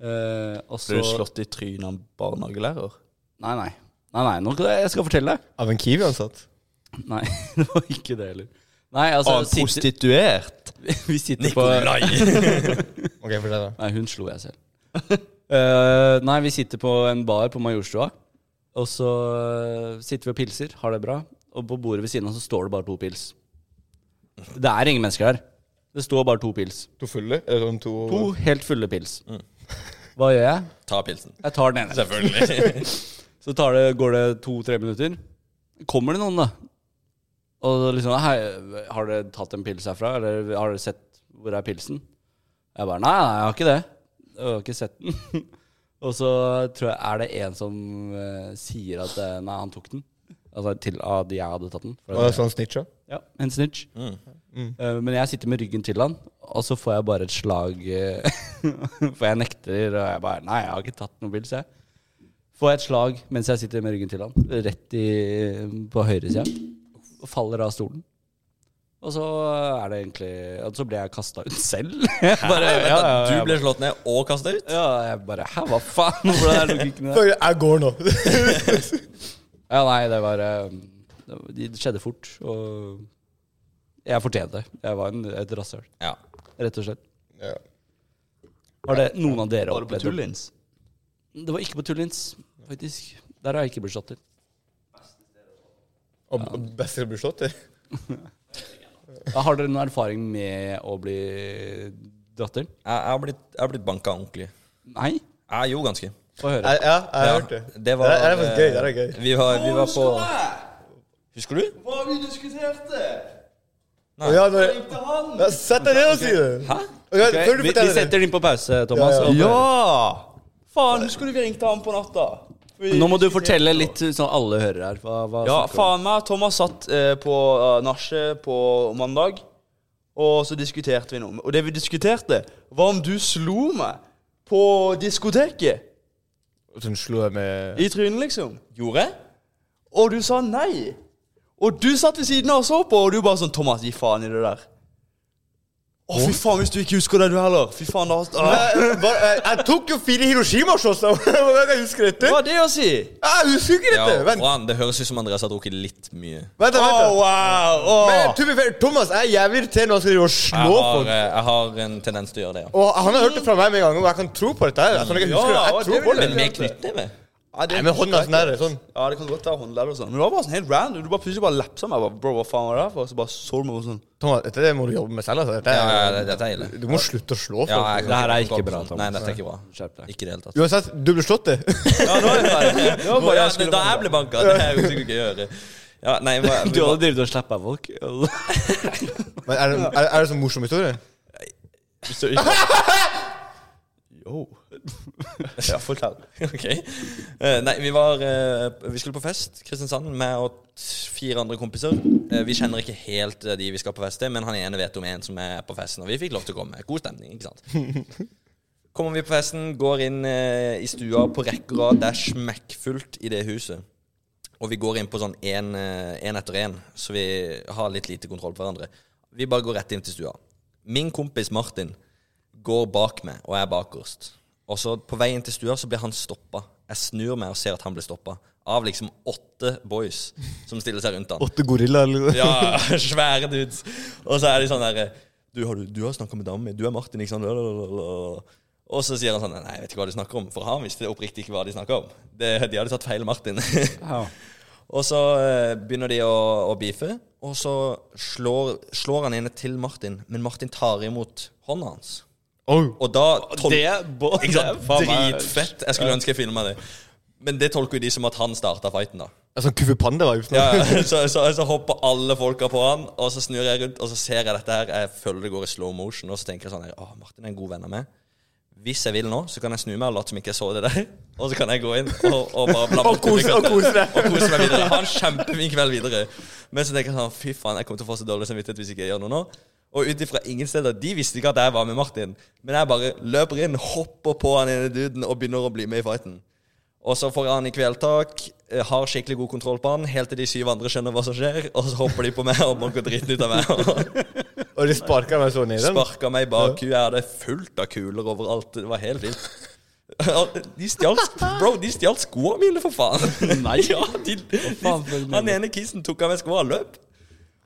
Speaker 2: Eh, og så
Speaker 1: Ble du slått i trynet av en barnehagelærer?
Speaker 2: Nei, nei. Nei, nei, nå, skal jeg- jeg skal fortelle deg.
Speaker 4: Av en Kiwi-ansatt?
Speaker 2: Nei, [laughs] det var ikke det heller. Nei, altså
Speaker 1: Av en
Speaker 2: sitter-
Speaker 1: prostituert?
Speaker 2: [laughs] Vi sitter på
Speaker 3: Nikolai!
Speaker 4: Ok, fortell, da.
Speaker 2: Nei, hun slo jeg selv. Eh, nei, vi sitter på en bar på Majorstua. Og så eh, sitter vi og pilser, har det bra. Og på bordet ved siden av så står det bare to pils. Det er ingen mennesker der. Det står bare to pils.
Speaker 4: To fulle? Eller sånn to
Speaker 2: To helt fulle pils. Hva gjør jeg?
Speaker 3: [laughs] Ta pilsen.
Speaker 2: Jeg tar den ene.
Speaker 3: [laughs] Selvfølgelig.
Speaker 2: Så tar det, går det to-tre minutter. Kommer det noen, da? Og så liksom Hei, har dere tatt en pils herfra? Eller har dere sett hvor er pilsen? Jeg bare Nei, nei, jeg har ikke det. Jeg har ikke sett den. [laughs] Og så tror jeg er det en som eh, sier at eh, Nei, han tok den. Altså til at jeg hadde tatt den. For
Speaker 4: Og sånn snitcha?
Speaker 2: ja, en snitch.
Speaker 3: Mm.
Speaker 2: Eh, men jeg sitter med ryggen til han, og så får jeg bare et slag eh, [laughs] For jeg nekter, og jeg bare Nei, jeg har ikke tatt noen pils, jeg. Får jeg et slag mens jeg sitter med ryggen til han, rett i, på høyresida, og faller av stolen. Og så er det egentlig Og så ble jeg kasta ut selv. [laughs] Jeg bare, ja, ja,
Speaker 3: Du
Speaker 2: ja,
Speaker 3: ble slått ned og kasta ut?
Speaker 2: ja, jeg bare Hæ, hva faen? [laughs] Hvordan er logikken der?
Speaker 4: Jeg går nå.
Speaker 2: Ja, nei, det var eh, Det skjedde fort, og jeg fortjente det. Jeg var en, et rasshøl,
Speaker 3: Ja.
Speaker 2: rett og slett.
Speaker 4: ja.
Speaker 2: Var det noen av dere
Speaker 1: Var det på
Speaker 2: opplevd det?
Speaker 1: Tullins?
Speaker 2: Det var ikke på Tullins, faktisk. Der har jeg ikke blitt slått til.
Speaker 4: Og og best til å bli slått til.
Speaker 2: Ja, Har dere noen erfaring med å bli dratt til?
Speaker 3: Jeg jeg har blitt, jeg har blitt banka ordentlig.
Speaker 2: Nei?
Speaker 3: Jeg gjorde ganske.
Speaker 2: Få høre.
Speaker 4: Jeg- Ja, jeg har
Speaker 3: Ja,
Speaker 4: hørt det.
Speaker 3: det var-
Speaker 4: det er faktisk gøy. Det er gøy.
Speaker 3: Vi var, vi var på Husker du?
Speaker 1: Hva har vi diskutert?
Speaker 4: Og Ja, når, ja, sett deg ned og si det.
Speaker 2: Hæ?
Speaker 4: Og Ja,
Speaker 2: Ok,
Speaker 4: før du
Speaker 2: vi, vi
Speaker 4: forteller det.
Speaker 2: setter den på pause, Thomas.
Speaker 4: Ja, ja.
Speaker 2: og-
Speaker 1: Ja! Faen, husker du vi ringte han på natta? Vi-
Speaker 2: Nå må du fortelle litt sånn alle hører her. Hva, hva
Speaker 1: Ja,
Speaker 2: snakker du om?
Speaker 1: faen meg. Thomas satt eh, på uh, nachet på mandag, og så diskuterte vi noe. Og det vi diskuterte, var om du slo meg på diskoteket.
Speaker 4: Sånn slo jeg med
Speaker 1: I trynet, liksom.
Speaker 3: Gjorde jeg?
Speaker 1: Og du sa nei. Og du satt ved siden av og så på, og du bare sånn Thomas, gi faen i det der. Å, fy faen, hvis du ikke husker det, du heller. Fy faen, da ah.
Speaker 4: Jeg, bare- jeg, eh, jeg tok jo fire Hiroshima-shots! da. [laughs] Hvordan kan Jeg huske dette.
Speaker 1: Hva er det å si?
Speaker 4: Jeg husker ikke
Speaker 3: Ja,
Speaker 4: dette! Vent,
Speaker 3: faen, det høres ut som Andreas har drukket litt mye.
Speaker 4: vent, da,
Speaker 1: Å,
Speaker 4: vent. da.
Speaker 1: wow.
Speaker 4: Men,
Speaker 1: Å.
Speaker 4: to be fair, Thomas jeg er jævlig irriterende når han skal drive og
Speaker 3: Jeg
Speaker 4: slå
Speaker 3: har,
Speaker 4: folk.
Speaker 3: eh, jeg har en tendens til å gjøre det, ja.
Speaker 4: Og han har hørt det fra meg med en gang, og jeg kan tro på dette. her Jeg, sånn, jeg, husker det.
Speaker 1: Ja,
Speaker 4: jeg tror
Speaker 1: det
Speaker 4: på
Speaker 1: vil
Speaker 4: det.
Speaker 3: Men
Speaker 1: jeg.
Speaker 3: med knyttneve?
Speaker 1: Ja, det
Speaker 4: Nei, men hånda sånn der, sånn.
Speaker 1: Ja, det kan godt være håndledd og sånn. Men det var bare sånn helt random. Du bare plutselig bare lapsa meg. Jeg bare, Bro, hva faen var det der for? Og så bare så du meg og sånn.
Speaker 4: Thomas, dette det må du jobbe med selv. Altså. Dette,
Speaker 3: Ja, ja,
Speaker 4: er-
Speaker 3: det- dette er ille.
Speaker 4: Du må slutte å slå folk.
Speaker 3: Ja, jeg kan
Speaker 2: Det her er
Speaker 3: gå
Speaker 2: ikke
Speaker 3: på
Speaker 2: bra,
Speaker 3: sånn.
Speaker 2: Thomas.
Speaker 3: Nei, dette er ikke bra.
Speaker 2: Skjerp deg.
Speaker 3: Ikke i det hele tatt.
Speaker 4: Uansett, du ble slått, det. [laughs]
Speaker 1: Ja, nå er det ferdig. Det var bare
Speaker 3: [laughs] Ja,
Speaker 1: jeg
Speaker 3: men
Speaker 1: skulle
Speaker 3: da jeg ble banka, det er jo sikkert gøy å høre. Ja, nei, [laughs] hva,
Speaker 2: Du hadde drevet og slappa
Speaker 1: [laughs]
Speaker 2: folk?
Speaker 4: Men er det, er, er det sånn morsom historie?
Speaker 1: Yo. Ja, fortell.
Speaker 3: [laughs] Ok. Eh, nei, vi var eh, Vi skulle på fest, Kristiansand, med og t- fire andre kompiser. Eh, vi kjenner ikke helt eh, de vi skal på fest til, men han ene vet om en som er på festen, og vi fikk lov til å komme. God stemning, ikke sant? Kommer vi på festen, går inn eh, i stua på rekke og rad. Det er smekkfullt i det huset. Og vi går inn på sånn én etter én, så vi har litt lite kontroll på hverandre. Vi bare går rett inn til stua. Min kompis Martin går bak meg, og jeg er bakerst. Og så på vei inn til stua så blir han stoppa. Jeg snur meg og ser at han blir stoppa. Av liksom åtte boys som stiller seg rundt han.
Speaker 4: Åtte gorillaer, eller?
Speaker 3: Ja, [laughs] svære dudes. Og så er de sånn derre Du har, du har snakka med dama mi. Du er Martin, ikke sant? Lalalala. Og så sier han sånn Nei, jeg vet ikke hva de snakker om. For han visste oppriktig ikke hva de snakka om. Det, de hadde tatt feil Martin. [laughs] og så eh, begynner de å, å beefe, og så slår, slår han ene til Martin, men Martin tar imot hånda hans.
Speaker 4: Oh.
Speaker 3: Og da tol-
Speaker 2: Det er bo-
Speaker 3: [laughs] Ikke
Speaker 2: det
Speaker 3: sant?
Speaker 2: er faen meg-
Speaker 3: Dritfett. Jeg skulle ønske jeg filma det. Men det tolker jo de som at han starta fighten, da.
Speaker 4: Sånn Kuffe Panda var jo sånn.
Speaker 3: Ja, ja. så, så, så hopper alle folka på han, og så snur jeg rundt, og så ser jeg dette her. Jeg føler det går i slow motion, og så tenker jeg sånn her Å, Martin er en god venn av meg. Hvis jeg vil nå, så kan jeg snu meg og late som ikke jeg så det der. Og så kan jeg gå inn og, og bare bla, bla,
Speaker 4: Og kose- og kose deg.
Speaker 3: og kose meg videre. Ha en kjempefin kveld videre. Men så tenker jeg sånn Fy faen, jeg kommer til å få så dårlig samvittighet hvis ikke jeg gjør noe nå. Og ut ifra ingen steder De visste ikke at jeg var med Martin, men jeg bare løper inn, hopper på han ene duden og begynner å bli med i fighten. Og så får han i kvelertak, eh, har skikkelig god kontroll på han, helt til de syv andre skjønner hva som skjer, og så hopper de på meg og banker dritten ut av meg. Og
Speaker 4: Og de sparka meg så ned i den.
Speaker 3: sparka meg i bakhuet. Jeg hadde fullt av kuler overalt. Det var helt vilt. Og [laughs] De stjal Bro, de stjal skoene mine, for faen! Nei ja, de,
Speaker 2: faen, for
Speaker 3: de,
Speaker 2: en
Speaker 3: Han ene kissen tok av meg skoene og løp.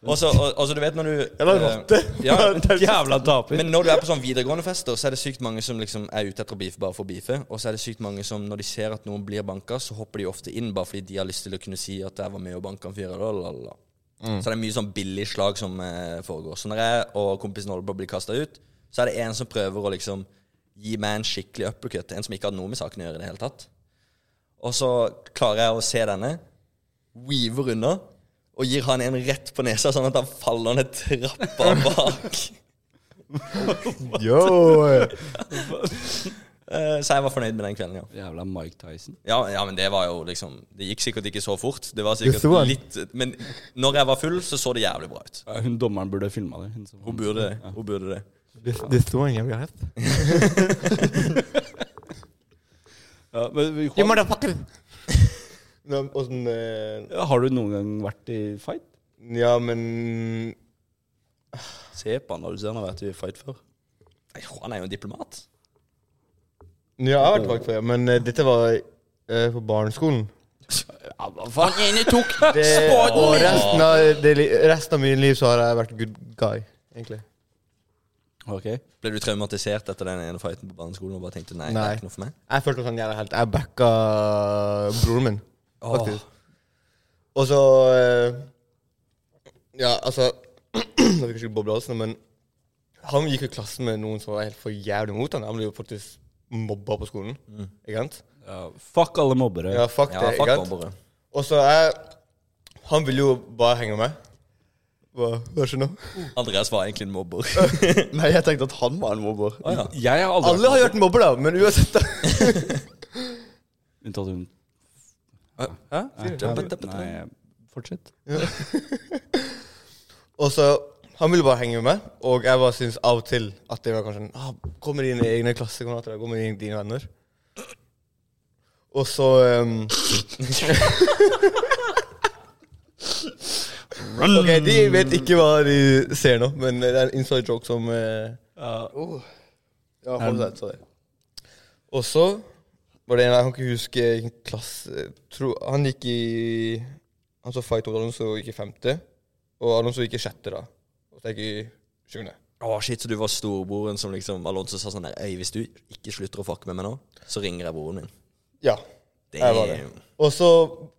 Speaker 3: Og så, og, og så du vet når du
Speaker 4: Eller en
Speaker 3: eh,
Speaker 4: rotte.
Speaker 1: [laughs]
Speaker 3: Ja,
Speaker 2: Jævla taper.
Speaker 3: men når du er på sånn videregående fester, så er det sykt mange som liksom er ute etter å beefe bare for å beefe. Og så er det sykt mange som når de ser at noen blir banka, så hopper de ofte inn bare fordi de har lyst til å kunne si at jeg var med og banka en fyr. la, la, la, la. Så det er mye sånn billig slag som eh, foregår. Så når jeg og kompisen Olberg blir kasta ut, så er det en som prøver å liksom gi meg en skikkelig uppercut. En som ikke hadde noe med saken å gjøre i det hele tatt. Og så klarer jeg å se denne, weaver unna, og gir han en rett på nesa, sånn at han faller ned trappa bak.
Speaker 4: Yo.
Speaker 3: Eh, Så jeg var fornøyd med den kvelden, ja.
Speaker 2: Jævla Mike Tyson.
Speaker 3: ja. Ja, men det var jo liksom Det gikk sikkert ikke så fort. Det var
Speaker 4: Du så
Speaker 3: sikkert
Speaker 4: den?
Speaker 3: litt Men når jeg var full, så så det jævlig bra ut.
Speaker 2: Ja, Hun dommeren burde filma det. Hun som-
Speaker 3: Hun burde det. Hun burde det.
Speaker 4: This, this one you have.
Speaker 2: Ja, men, vi-
Speaker 4: You motherfucker. Nå, og sånn eh,
Speaker 2: har du noen gang vært i fight?
Speaker 4: Ja, men
Speaker 1: Se på han når du ser han har vært i fight før.
Speaker 3: Nei, han er jo en diplomat.
Speaker 4: Ja, jeg har vært vakt før, men eh, dette var eh, på barneskolen.
Speaker 2: Ja, hva faen? Han ene tok
Speaker 4: [laughs] Det, og resten av, det, li- resten av mitt liv så har jeg vært good guy, egentlig.
Speaker 2: Ok.
Speaker 3: Ble du traumatisert etter den ene fighten på barneskolen og bare tenkte nei, det
Speaker 4: Nei.
Speaker 3: er ikke noe for meg?
Speaker 4: Jeg følte meg sånn jævla helt. Jeg backa broren min, faktisk.
Speaker 2: Ah.
Speaker 4: Og så eh, Ja, altså [clears throat] Jeg fikk ikke boble halsen, men han gikk jo i klassen med noen som var helt for jævlig mot han. Han ble jo faktisk mobba på skolen.
Speaker 2: Mm.
Speaker 4: Ikke sant?
Speaker 2: Ja, fuck alle mobbere.
Speaker 4: Ja, fuck
Speaker 3: Ja,
Speaker 4: det.
Speaker 3: fuck
Speaker 4: ikke sant?
Speaker 3: mobbere.
Speaker 4: Og så jeg Han ville jo bare henge med. Hva, hva skjer nå?
Speaker 3: Andreas var egentlig en
Speaker 4: [laughs]
Speaker 3: mobber.
Speaker 1: Nei, jeg tenkte at han var en mobber.
Speaker 3: Å
Speaker 1: [laughs]
Speaker 3: ja.
Speaker 2: Jeg har aldri
Speaker 4: Alle har jo vært mobber, da, men uansett. da
Speaker 2: Unntatt hun.
Speaker 3: Hæ?
Speaker 2: Nei,
Speaker 3: Nei.
Speaker 2: Nei, fortsett.
Speaker 4: Og så Han ville bare henge med meg, og jeg bare syntes av og til at det var kanskje en, ah, Kom med dine egne klassekamerater, da, kom med dine- dine venner. Og så ehm, Ok, de vet ikke hva de ser nå, men det er en inside joke som eh,
Speaker 1: Ja, fortsett, sorry.
Speaker 4: Og så var det en jeg kan ikke huske hvilken klasse tro, Han gikk i Han så fight mot Alonso gikk i femte, og Alonso gikk i sjette, da. Og så gikk jeg i sjuende.
Speaker 3: Å, shit, så du var storebroren som liksom Alonso sa sånn der Øy, hvis du ikke slutter å fucke med meg nå, så ringer jeg broren din.
Speaker 4: Ja. Jeg var det.
Speaker 3: Damn.
Speaker 4: Og så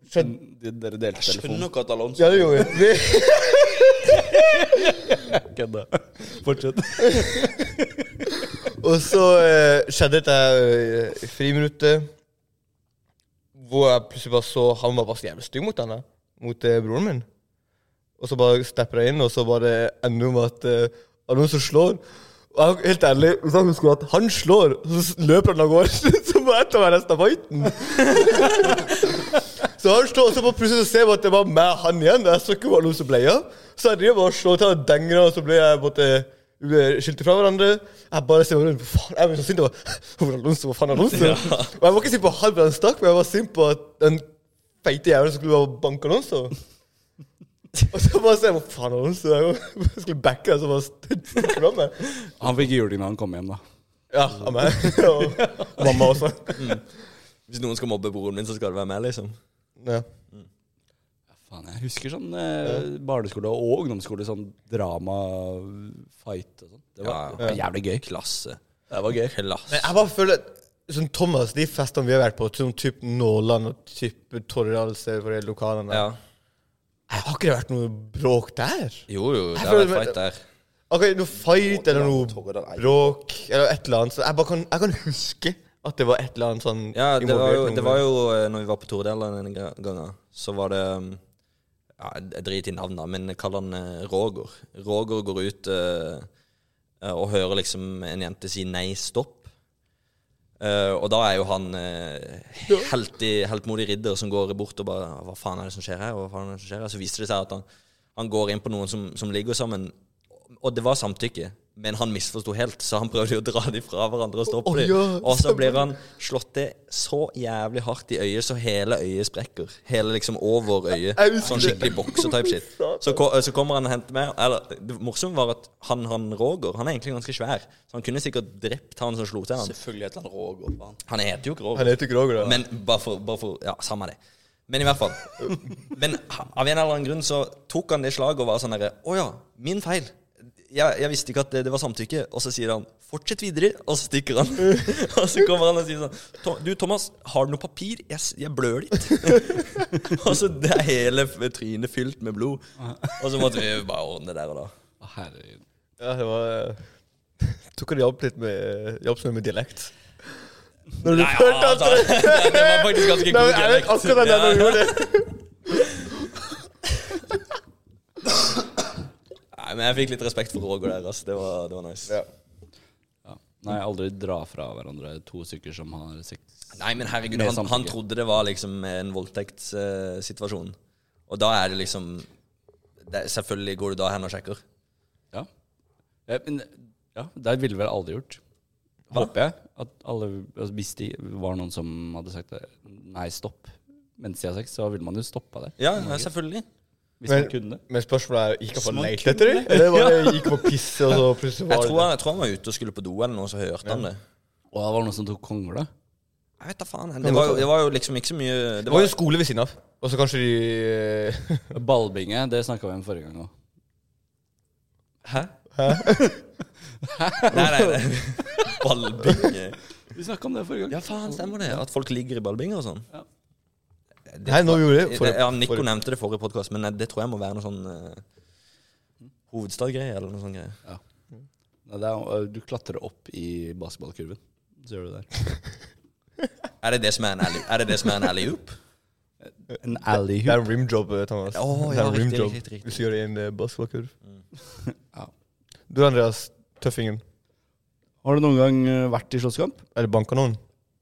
Speaker 4: skjedde
Speaker 2: De- Dere delte telefonen.
Speaker 1: nok at Alonso
Speaker 4: Ja, det gjorde vi. vi.
Speaker 2: Kødda. Fortsett.
Speaker 1: [laughs]
Speaker 4: Og så eh, skjedde dette eh, i friminuttet, hvor jeg plutselig bare så han var bare så jævlig stygg mot henne. Mot eh, broren min. Og så bare stepper jeg inn, og så bare ender det med at eh, det er noen som slår. Og jeg, helt ærlig, hvis jeg husker at han slår, så s- løper han av gårde, [laughs] så må jeg ta meg resten av fighten. Så han slår, og så bare plutselig så ser jeg at det var meg og han igjen. og Jeg så ikke hvor Alonso ble av. Så jeg driver bare og slår til han og denger, og så ble jeg måtte, vi ble skilt eh, fra hverandre. Jeg bare ser meg rundt, for faen, jeg ble så sint. jeg [laughs] bare, Hvor er Alonso? Hvor faen er Alonso? Og jeg var ikke sint på han, for han stakk, men jeg var sint på at den feite jævelen skulle bare banke Alonso. Og så bare ser jeg, hvor faen er Alonso? Jeg [laughs] skulle backe han, så bare st- stikker han meg.
Speaker 2: Han fikk juling da han kom hjem, da.
Speaker 4: Ja, av meg. [laughs] Og mamma også.
Speaker 3: Hvis noen skal mobbe broren min, så skal det være meg, liksom.
Speaker 4: Ja.
Speaker 2: Faen, jeg husker sånn eh, barneskole og ungdomsskole, sånn drama-fight og sånn. Det var
Speaker 3: Ja,
Speaker 2: det var jævlig gøy.
Speaker 3: Klasse.
Speaker 2: Det var gøy.
Speaker 3: Klasse.
Speaker 4: Men jeg bare føler at sånn Thomas, de festene vi har vært på, sånn typ Nåland og typ Torralse for de lokalene
Speaker 3: Ja.
Speaker 4: Jeg Har ikke det vært noe bråk der?
Speaker 3: Jo, jo, det
Speaker 4: føler-
Speaker 3: er en fight der.
Speaker 4: Ok, noe fight eller noe
Speaker 1: Torre, den er-
Speaker 4: bråk eller et eller annet. Så jeg bare kan, jeg kan huske at det var et eller annet sånn
Speaker 3: Ja, det var,
Speaker 4: involvert
Speaker 3: jo,
Speaker 4: noe
Speaker 3: det var jo eh, Når vi var på Tordela denne ga- gangen, så var det um, ja, Jeg driter i navnet, men jeg kaller han eh, Roger. Roger går ut eh, eh, og hører liksom en jente si 'nei, stopp'. Eh, og da er jo han eh, helt i- heltmodig ridder som går bort og bare 'Hva faen er det som skjer her?' Og hva faen er det som skjer her? Så viser det seg at han, han går inn på noen som, som ligger sammen. Og det var samtykke, men han misforsto helt, så han prøvde jo å dra dem fra hverandre og stoppe
Speaker 4: Å,
Speaker 3: dem.
Speaker 4: ja,
Speaker 3: og så blir han slått det så jævlig hardt i øyet, så hele øyet sprekker. Hele liksom over øyet.
Speaker 4: Jeg husker
Speaker 3: Sånn
Speaker 4: det.
Speaker 3: skikkelig bokser-type shit. Så, ko- så kommer han og henter meg. Eller, det morsomme var at han, han Roger, han er egentlig ganske svær, så han kunne sikkert drept han som slo til han.
Speaker 1: Selvfølgelig et eller annet rågård på han.
Speaker 3: Han heter jo ikke Roger.
Speaker 4: Han heter ikke Roger, da.
Speaker 3: Men bare for, bare for Ja, samme det. Men i hvert fall. Men av en eller annen grunn så tok han det slaget og var sånn herre Å ja, min feil. Jeg, jeg visste ikke at det, det var samtykke. Og så sier han 'fortsett videre', og så stikker han. [laughs] og så kommer han og sier sånn «Tom- 'Du, Thomas, har du noe papir? Jeg, s- jeg blør litt'. [laughs] og så det er hele f- trynet fylt med blod. Og så måtte vi bare ordne det der og da.
Speaker 2: Å, Herregud.
Speaker 4: Ja, det var eh, [laughs] Tok han hjalp litt med Hjalp som med dialekt? Når du følte at
Speaker 3: altså, [laughs] det, det var faktisk ganske
Speaker 4: Nei,
Speaker 3: god
Speaker 4: men jeg vet akkurat det når du gjorde det.
Speaker 3: Nei, men jeg fikk litt respekt for Roger der, altså. Det var, det var nice.
Speaker 2: Ja. Nei, aldri dra fra hverandre to stykker som har sex.
Speaker 3: Nei, men herregud,
Speaker 2: Med
Speaker 3: han, han
Speaker 2: samtykke.
Speaker 3: trodde det var liksom en voldtektssituasjon. og da er det liksom det, Selvfølgelig går du da hen og sjekker.
Speaker 2: Ja. ja men ja, det ville vel alle gjort. Håper jeg. At alle, altså, hvis det var noen som hadde sagt det, nei, stopp mens de har sex, så ville man jo stoppa det.
Speaker 3: Ja, ja, selvfølgelig.
Speaker 2: Hvis man kunne.
Speaker 4: Men spørsmålet er gikk han på
Speaker 2: Smak.
Speaker 4: leit etter dem? Eller var det, gikk han på pisse, og så plutselig
Speaker 3: Jeg
Speaker 4: var
Speaker 3: tror,
Speaker 4: det
Speaker 3: han, jeg tror han var ute og skulle på do eller noe, så hørte han det.
Speaker 2: Og det var noen som tok kongla.
Speaker 3: Jeg vet da faen. Det var, jo, det var jo liksom ikke så mye
Speaker 4: Det
Speaker 3: Det
Speaker 4: var jo
Speaker 3: var,
Speaker 4: en skole ved siden av. Og så kanskje de eh, [laughs]
Speaker 2: Ballbinge, det snakka vi om forrige gang òg.
Speaker 3: Hæ? [laughs] nei, nei, nei. Ballbinge.
Speaker 2: Vi snakka om det forrige gang.
Speaker 3: Ja, faen, stemmer det. At folk ligger i ballbinger og sånn.
Speaker 2: Ja.
Speaker 3: Det
Speaker 4: Nei, nå gjorde
Speaker 3: tror-
Speaker 4: de for,
Speaker 3: ja, Nico
Speaker 4: for,
Speaker 3: nevnte det i forrige podkast, men eh, det tror jeg må være noe sånn eh, hovedstadgreie eller noe sånn greie.
Speaker 2: Nei, det er, eh, du klatrer opp i basketballkurven. Så gjør du det der.
Speaker 3: Er det det som er en alley- er det det som er en alley-oop?
Speaker 2: [laughs] En
Speaker 4: Det er
Speaker 2: alleyhoop.
Speaker 4: en rimjob, eh, Thomas.
Speaker 3: Å,
Speaker 4: det
Speaker 3: ja,
Speaker 4: er en
Speaker 3: riktig,
Speaker 4: rimjob
Speaker 3: riktig, Mm. riktig.
Speaker 4: Hvis du gjør det i en eh, basketballkurv.
Speaker 2: Ja.
Speaker 4: Du, Andreas Tøffingen.
Speaker 2: Har du noen gang eh, vært i slåsskamp?
Speaker 4: Eller banka noen?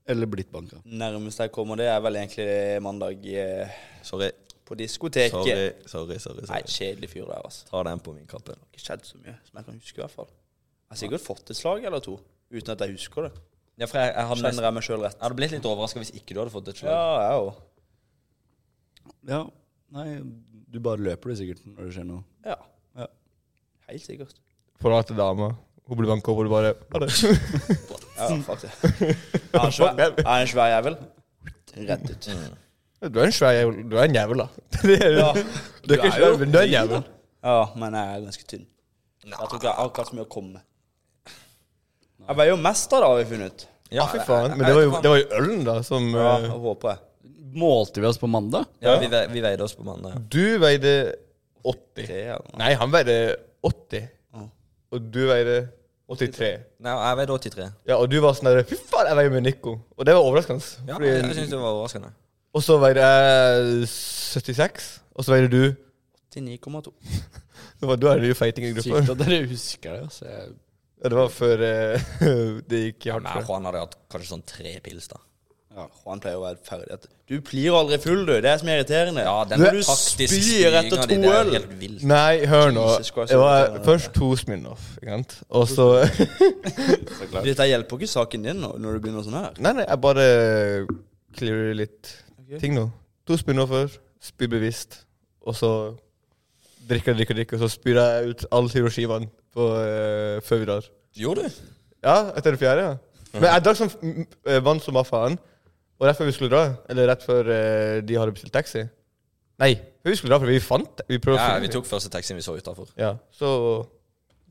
Speaker 2: Eller blitt banka?
Speaker 1: Nærmest jeg kommer det, er vel egentlig mandag eh,
Speaker 3: Sorry.
Speaker 1: på diskoteket.
Speaker 3: Sorry, sorry. sorry,
Speaker 1: Nei,
Speaker 3: sorry.
Speaker 1: kjedelig fyr der, altså.
Speaker 3: Ta den på min kappe.
Speaker 1: Det har ikke skjedd så mye, som jeg kan huske i hvert fall. Jeg har sikkert fått et slag eller to, uten at jeg husker det.
Speaker 3: Ja, for jeg, jeg, hadde nesten,
Speaker 1: Kjenner jeg meg sjøl rett?
Speaker 3: jeg hadde blitt litt overraska hvis ikke du hadde fått et
Speaker 1: Ja,
Speaker 3: slag.
Speaker 1: jeg òg.
Speaker 2: Ja. Nei, du bare løper du sikkert når det skjer noe.
Speaker 1: Ja.
Speaker 2: Ja.
Speaker 1: Helt sikkert.
Speaker 4: Forlat til dama. Hun blir banka opp, og du bare Ha det. [laughs]
Speaker 1: Ja, fuck [laughs] det. Er han svær- er han en svær jævel? Rett ut.
Speaker 4: Du er en svær jævel. Du er en jævel, da. [laughs] Det er,
Speaker 1: Ja.
Speaker 4: du er ikke
Speaker 1: jo
Speaker 4: svær, men du er en jævel.
Speaker 1: ja, men jeg er ganske tynn. Jeg tror ikke jeg har akkurat så mye å komme med. Jeg veier jo mest av det, har vi funnet ut.
Speaker 3: Ja,
Speaker 4: Fy
Speaker 3: jeg-
Speaker 4: faen.
Speaker 3: jeg- jeg
Speaker 4: Men det var
Speaker 3: vet
Speaker 4: jo,
Speaker 3: hva-
Speaker 4: det var jo ølen, da, som
Speaker 1: Ja,
Speaker 4: eh,
Speaker 1: håper jeg.
Speaker 2: Målte vi oss på mandag?
Speaker 3: Ja, vi, ve- vi veide oss på mandag.
Speaker 4: Du veide 80.
Speaker 1: Tre, eller noe.
Speaker 4: Nei, han veide 80.
Speaker 1: Ja.
Speaker 4: Og du veide 83.
Speaker 3: Nei, jeg veide 83.
Speaker 4: Ja, og du var sånn der Fy faen, jeg veier med Nico. Og det var overraskende.
Speaker 3: Ja, jeg jeg
Speaker 4: fordi,
Speaker 3: synes det var overraskende.
Speaker 4: og så veide jeg 76, og så veide du
Speaker 1: 89,2.
Speaker 4: det var, Da er du jo feiting i gruppa.
Speaker 2: Sykt at dere husker det. Altså. Jeg,
Speaker 4: Ja, det var før eh, [laughs] det gikk hardt
Speaker 3: Nei,
Speaker 4: for deg.
Speaker 3: Juan hadde hatt kanskje sånn tre pils, da.
Speaker 1: Han pleier å være ferdig etter Du blir aldri full, du. Det er som er irriterende.
Speaker 3: Ja, den
Speaker 1: Når du
Speaker 3: taktiske
Speaker 1: spyr etter
Speaker 3: styringen
Speaker 1: to
Speaker 3: din, det er
Speaker 1: øl.
Speaker 3: helt vilt.
Speaker 4: Nei, hør nå.
Speaker 1: Jesus Christ,
Speaker 4: Det var
Speaker 1: det er-
Speaker 4: først to Smirnoff, ikke sant. Og så
Speaker 1: Dette hjelper ikke saken din nå, når du begynner sånn her.
Speaker 4: [laughs] Nei, nei, jeg bare clearer litt ting nå. To Smirnoffer, spyr bevisst, og så drikker jeg, drikker, drikker, og så spyr jeg ut all Hiroshimaen på, eh, før vi drar.
Speaker 3: Gjorde du?
Speaker 4: Ja, etter det fjerde, ja. Men jeg drakk som f- m- eh, vann som var faen. Og rett før vi skulle dra, eller rett før eh, de hadde bestilt taxi Nei, før vi skulle dra, for vi fant det. Vi prøvde å
Speaker 3: Ja,
Speaker 4: finne
Speaker 3: vi
Speaker 4: det.
Speaker 3: tok første taxien vi så utafor.
Speaker 4: Ja, så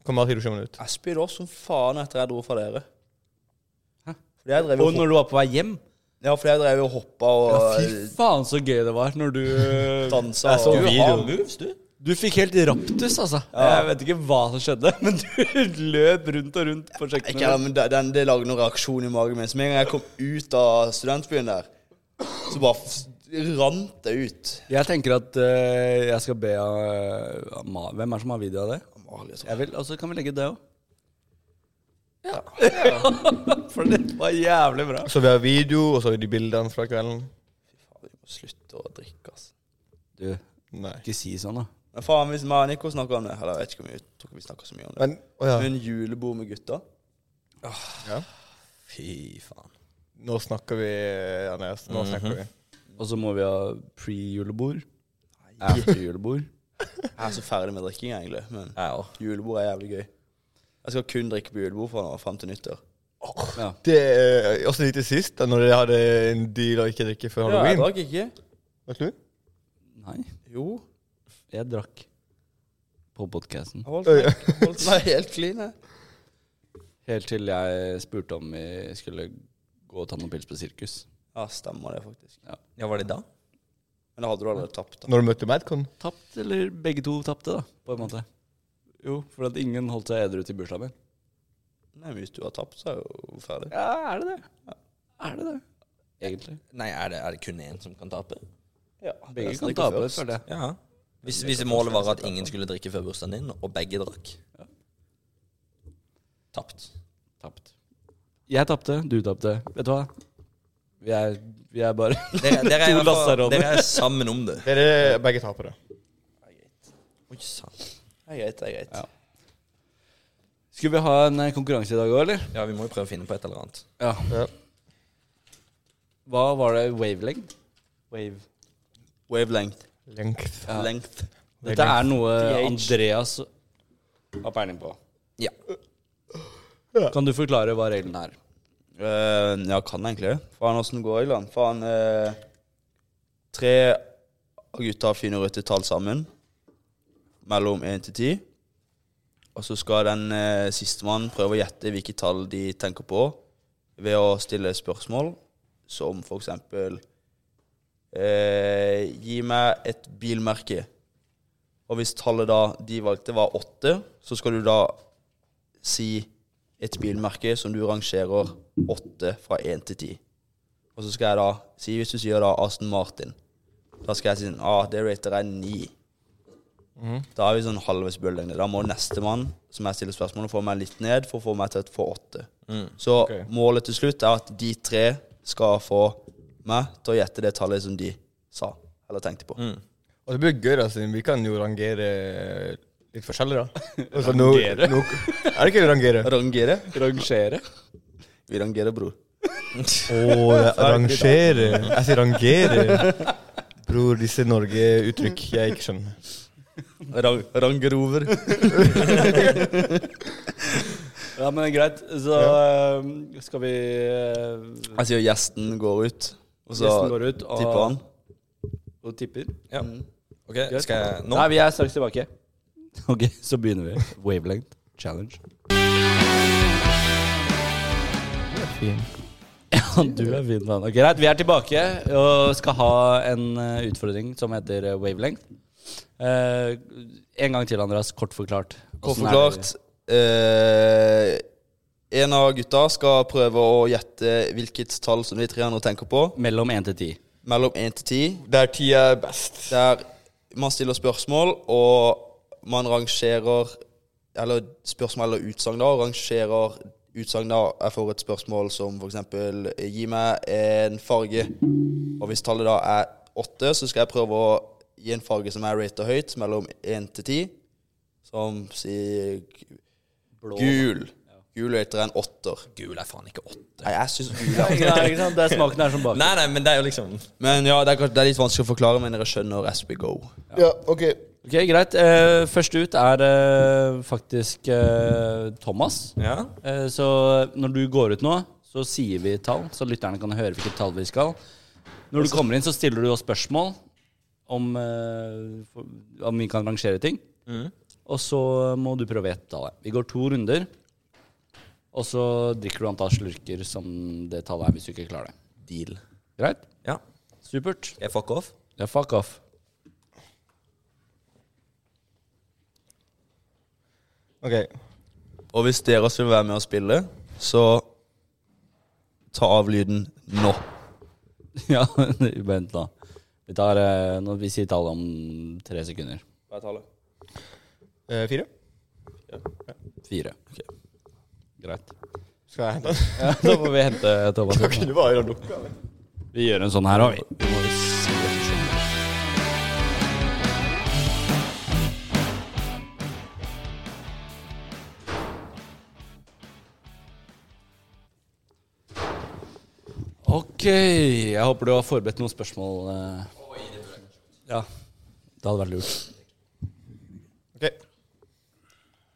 Speaker 4: kom all Hiroshimaen ut.
Speaker 1: Jeg spydde også som faen etter jeg dro fra dere. Fordi jeg drev
Speaker 2: og
Speaker 1: og
Speaker 2: når du var på vei hjem?
Speaker 1: Ja, fordi jeg drev og hoppa og
Speaker 2: Fy faen, så gøy det var når du
Speaker 1: [laughs]
Speaker 2: eh,
Speaker 1: dansa.
Speaker 4: Jeg så
Speaker 1: og-
Speaker 4: video.
Speaker 1: Du har moves, du.
Speaker 2: Du fikk helt raptus, altså. Jeg vet ikke hva som skjedde, [laughs] men du løp rundt og rundt på
Speaker 1: Ikke heller,
Speaker 2: kjøkkenet.
Speaker 1: men det- den, det lagde noen reaksjon i magen min. Så med en gang jeg kom ut av studentbyen der, så bare f- rant det ut.
Speaker 2: Jeg tenker at eh, jeg skal be av Ma- Hvem er det som har video av det?
Speaker 1: Amalie, tror jeg.
Speaker 2: Jeg vil, altså kan vi legge det òg. Ja. [laughs] For det var jævlig bra.
Speaker 4: Så vi har video, og så har vi de bildene fra kvelden.
Speaker 1: Faen, Vi må slutte å drikke, altså.
Speaker 2: Du,
Speaker 4: Nei.
Speaker 2: ikke si sånn, da.
Speaker 1: Men faen, hvis meg og Nico snakker om det Eller jeg vet ikke om vi, jeg tror ikke vi snakker så mye om det.
Speaker 4: Men, å ja.
Speaker 1: Men julebord med gutta Ah.
Speaker 4: ja.
Speaker 3: Fy faen.
Speaker 4: Nå snakker vi, Andreas. Nå snakker vi.
Speaker 2: Og så må vi ha pre-julebord. After-julebord.
Speaker 1: Jeg er så ferdig med drikking, egentlig. Men
Speaker 3: Jeg òg.
Speaker 1: julebord er jævlig gøy. Jeg skal kun drikke på julebord fra nå og frem til nyttår.
Speaker 2: Ja.
Speaker 4: Det er også litt til sist, da når jeg hadde en deal å ikke drikke før
Speaker 1: Ja, jeg
Speaker 4: halloween.
Speaker 1: drakk ikke.
Speaker 4: Vet du?
Speaker 2: Nei,
Speaker 1: Jo.
Speaker 2: jeg drakk på podkasten.
Speaker 1: Jeg holdt meg, holdt meg helt clean, jeg.
Speaker 2: Helt til jeg spurte om vi skulle gå og ta noen pils på sirkus.
Speaker 1: Ja, stemmer det, faktisk.
Speaker 3: Ja, var det da?
Speaker 1: Men da hadde du allerede tapt, da.
Speaker 4: Når du møtte Madcon.
Speaker 2: Tapt, eller begge to tapte, da, på en måte. Jo, for at ingen holdt seg edru til bursdagen min.
Speaker 1: Nei, men hvis du har tapt, så er jeg jo ferdig.
Speaker 2: Ja, er det det? Er det det? Egentlig.
Speaker 3: Nei, er det, er det kun én som kan tape?
Speaker 1: Ja,
Speaker 2: Begge kan tape, føler jeg.
Speaker 3: Ja. Hvis, hvis målet var at ingen skulle drikke før bursdagen din, og begge drakk Tapt.
Speaker 2: Tapt. Jeg tapte, du tapte. Vet du hva? Vi er, vi er bare [laughs]
Speaker 3: Dere, dere, [laughs] er, i
Speaker 2: To
Speaker 3: hvert fall-
Speaker 2: lasaroner.
Speaker 3: dere er sammen om det.
Speaker 4: Dere er begge tapere.
Speaker 3: Oi, sant.
Speaker 1: Det er greit, det er greit.
Speaker 2: Ja. Skulle vi ha en eh, konkurranse i dag òg, eller?
Speaker 3: Ja, vi må jo prøve å finne på et eller annet.
Speaker 2: Ja.
Speaker 4: Ja.
Speaker 2: Hva var det? Wavelength? Wave.
Speaker 1: Wavelength.
Speaker 4: Lengt.
Speaker 2: Ja.
Speaker 1: Length.
Speaker 2: Dette er noe Eh, Andreas har peiling på.
Speaker 3: Ja.
Speaker 2: Kan du forklare hva reglene er?
Speaker 1: Eh, ja, kan jeg egentlig det. Faen, åssen går reglene? Faen eh, Tre av gutta finner ut et tall sammen mellom én til ti. Og så skal den eh, sistemann prøve å gjette hvilket tall de tenker på, ved å stille spørsmål som for eksempel eh, Gi meg et bilmerke. Og hvis tallet da de valgte, var åtte, så skal du da si et bilmerke som du rangerer åtte fra én til ti. Og så skal jeg da si, hvis du sier da Aston Martin, da skal jeg si sånn ah, det rater jeg ni. Da er vi sånn halvveis bølgelengde. Da må nestemann som jeg stiller spørsmålet, få meg litt ned for å få meg til å få åtte. Så
Speaker 4: Ok.
Speaker 1: målet til slutt er at de tre skal få meg til å gjette det tallet som de sa eller tenkte på.
Speaker 4: Og det blir gøy, da, siden vi kan jo rangere litt forskjellig, [laughs] da. Altså, nå,
Speaker 2: Rangere?
Speaker 4: nå, er det ikke rangere?
Speaker 1: Rangere?
Speaker 2: Rangere?
Speaker 1: Vi rangerer, bror.
Speaker 4: Å, det er rangere. Jeg sier rangere. Bror, disse Norge-uttrykk jeg ikke skjønner.
Speaker 1: Rang, rangerover.
Speaker 2: Ja, men greit. Så eh, skal vi eh,
Speaker 1: Jeg sier gjesten går ut, og så
Speaker 2: Gjesten går ut, og-
Speaker 1: tipper han.
Speaker 2: Og tipper.
Speaker 3: ja. OK, skal jeg nå?
Speaker 2: Nei, vi er straks tilbake. [laughs] Ok, så begynner vi. Wavelength challenge. Ja, [laughs] du er fin mann. Ok, Greit, vi er tilbake og skal ha en eh, utfordring som heter eh, wavelength. Eh, en gang til, Andreas. Kort forklart.
Speaker 1: Kort
Speaker 2: Hvordan er
Speaker 1: forklart eh, En av gutta skal prøve å gjette hvilket tall som de tre andre tenker på.
Speaker 2: det Mellom 1 til 10.
Speaker 1: Mellom 1 til 10.
Speaker 4: Der ti er best.
Speaker 1: Der man stiller spørsmål, og man rangerer Eller spørsmål eller utsagn, da. Og rangerer utsagn da jeg får et spørsmål som f.eks.: Gi meg en farge. Og hvis tallet da er åtte, så skal jeg prøve å gi en farge som er ratet høyt, mellom én til ti. Som sier gul. Gul rater en åtter.
Speaker 3: Gul er faen ikke åtte.
Speaker 1: Nei, jeg syns gul
Speaker 4: [laughs]
Speaker 1: er
Speaker 2: Ja, ikke sant? Det er smaken her som baker.
Speaker 3: Nei, nei, men det er jo liksom
Speaker 1: Men ja, det er, kanskje- det er litt vanskelig å forklare, men dere skjønner as we go.
Speaker 4: Ja, OK.
Speaker 2: Ok, Greit. Eh, først ut er eh, faktisk eh, Thomas.
Speaker 3: Ja.
Speaker 2: Eh, Så når du går ut nå, så sier vi tall, så lytterne kan høre hvilket tall vi skal. Når du kommer inn, så stiller du oss spørsmål om, eh, for- om vi kan rangere ting. Og så må du prøve å gjette tallet. Vi går to runder, og så drikker du antall slurker som det tallet er, hvis du ikke klarer det.
Speaker 1: Deal.
Speaker 2: Greit?
Speaker 3: ja.
Speaker 2: Supert.
Speaker 3: Jeg fuck off.
Speaker 2: Ja, fuck off.
Speaker 4: Ok.
Speaker 1: Og hvis dere også vil være med og spille, så ta av lyden nå.
Speaker 2: [laughs] ja, vent da. Vi, tar, eh, nå, vi sier tallet om tre sekunder.
Speaker 1: Hva er tallet?
Speaker 4: Eh, fire?
Speaker 2: Fire. Greit.
Speaker 4: Skal jeg hente den?
Speaker 2: Ja, [laughs] da får vi hente Thomas.
Speaker 4: Da kunne du bare lukka den.
Speaker 2: Vi gjør en sånn her òg, vi. Ok. Jeg håper du har forberedt noen spørsmål. eh. Ja. Det hadde vært lurt.
Speaker 4: OK.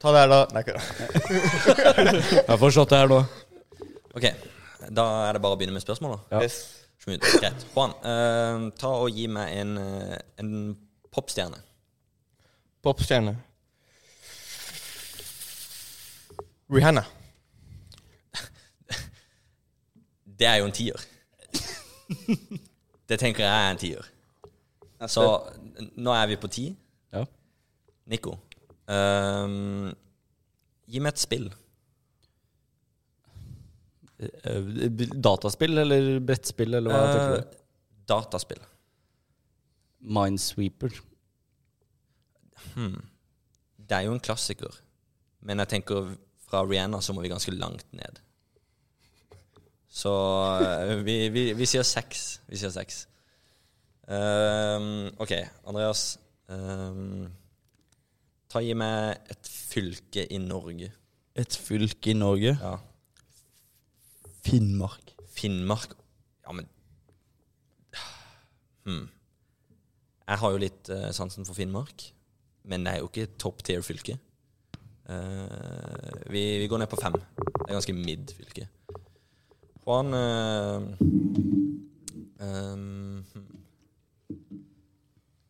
Speaker 4: Ta det her, da. Nei, ikke det.
Speaker 2: Jeg får shot her nå.
Speaker 3: OK, da er det bare å begynne med spørsmål, da.
Speaker 2: Ja.
Speaker 4: Yes.
Speaker 3: Smooth. Greit. Juan, eh, ta og gi meg en, eh, en popstjerne.
Speaker 4: Popstjerne. Rihanna.
Speaker 3: Det er jo en tier. Det tenker jeg er en tier. Så n- nå er vi på ti.
Speaker 2: Ja.
Speaker 3: Nico, eh, gi meg et spill.
Speaker 2: Eh, Dataspill eller brettspill eller hva tenker du?
Speaker 3: Eh, dataspill.
Speaker 2: Minesweeper.
Speaker 3: Det er jo en klassiker, men jeg tenker fra Rihanna så må vi ganske langt ned. Så eh, vi, vi, vi sier seks. Vi sier seks. Ehm, OK, Andreas. ehm, ta Gi meg et fylke i Norge.
Speaker 1: Et fylke i [laughs] Norge.
Speaker 3: Ja.
Speaker 1: Finnmark.
Speaker 3: Finnmark Ja, men hmm. Jeg har jo litt eh, sansen for Finnmark. men det er jo ikke top tier fylke. Eh, vi, vi går ned på fem. Det er ganske mid fylke. Juan eh, ehm,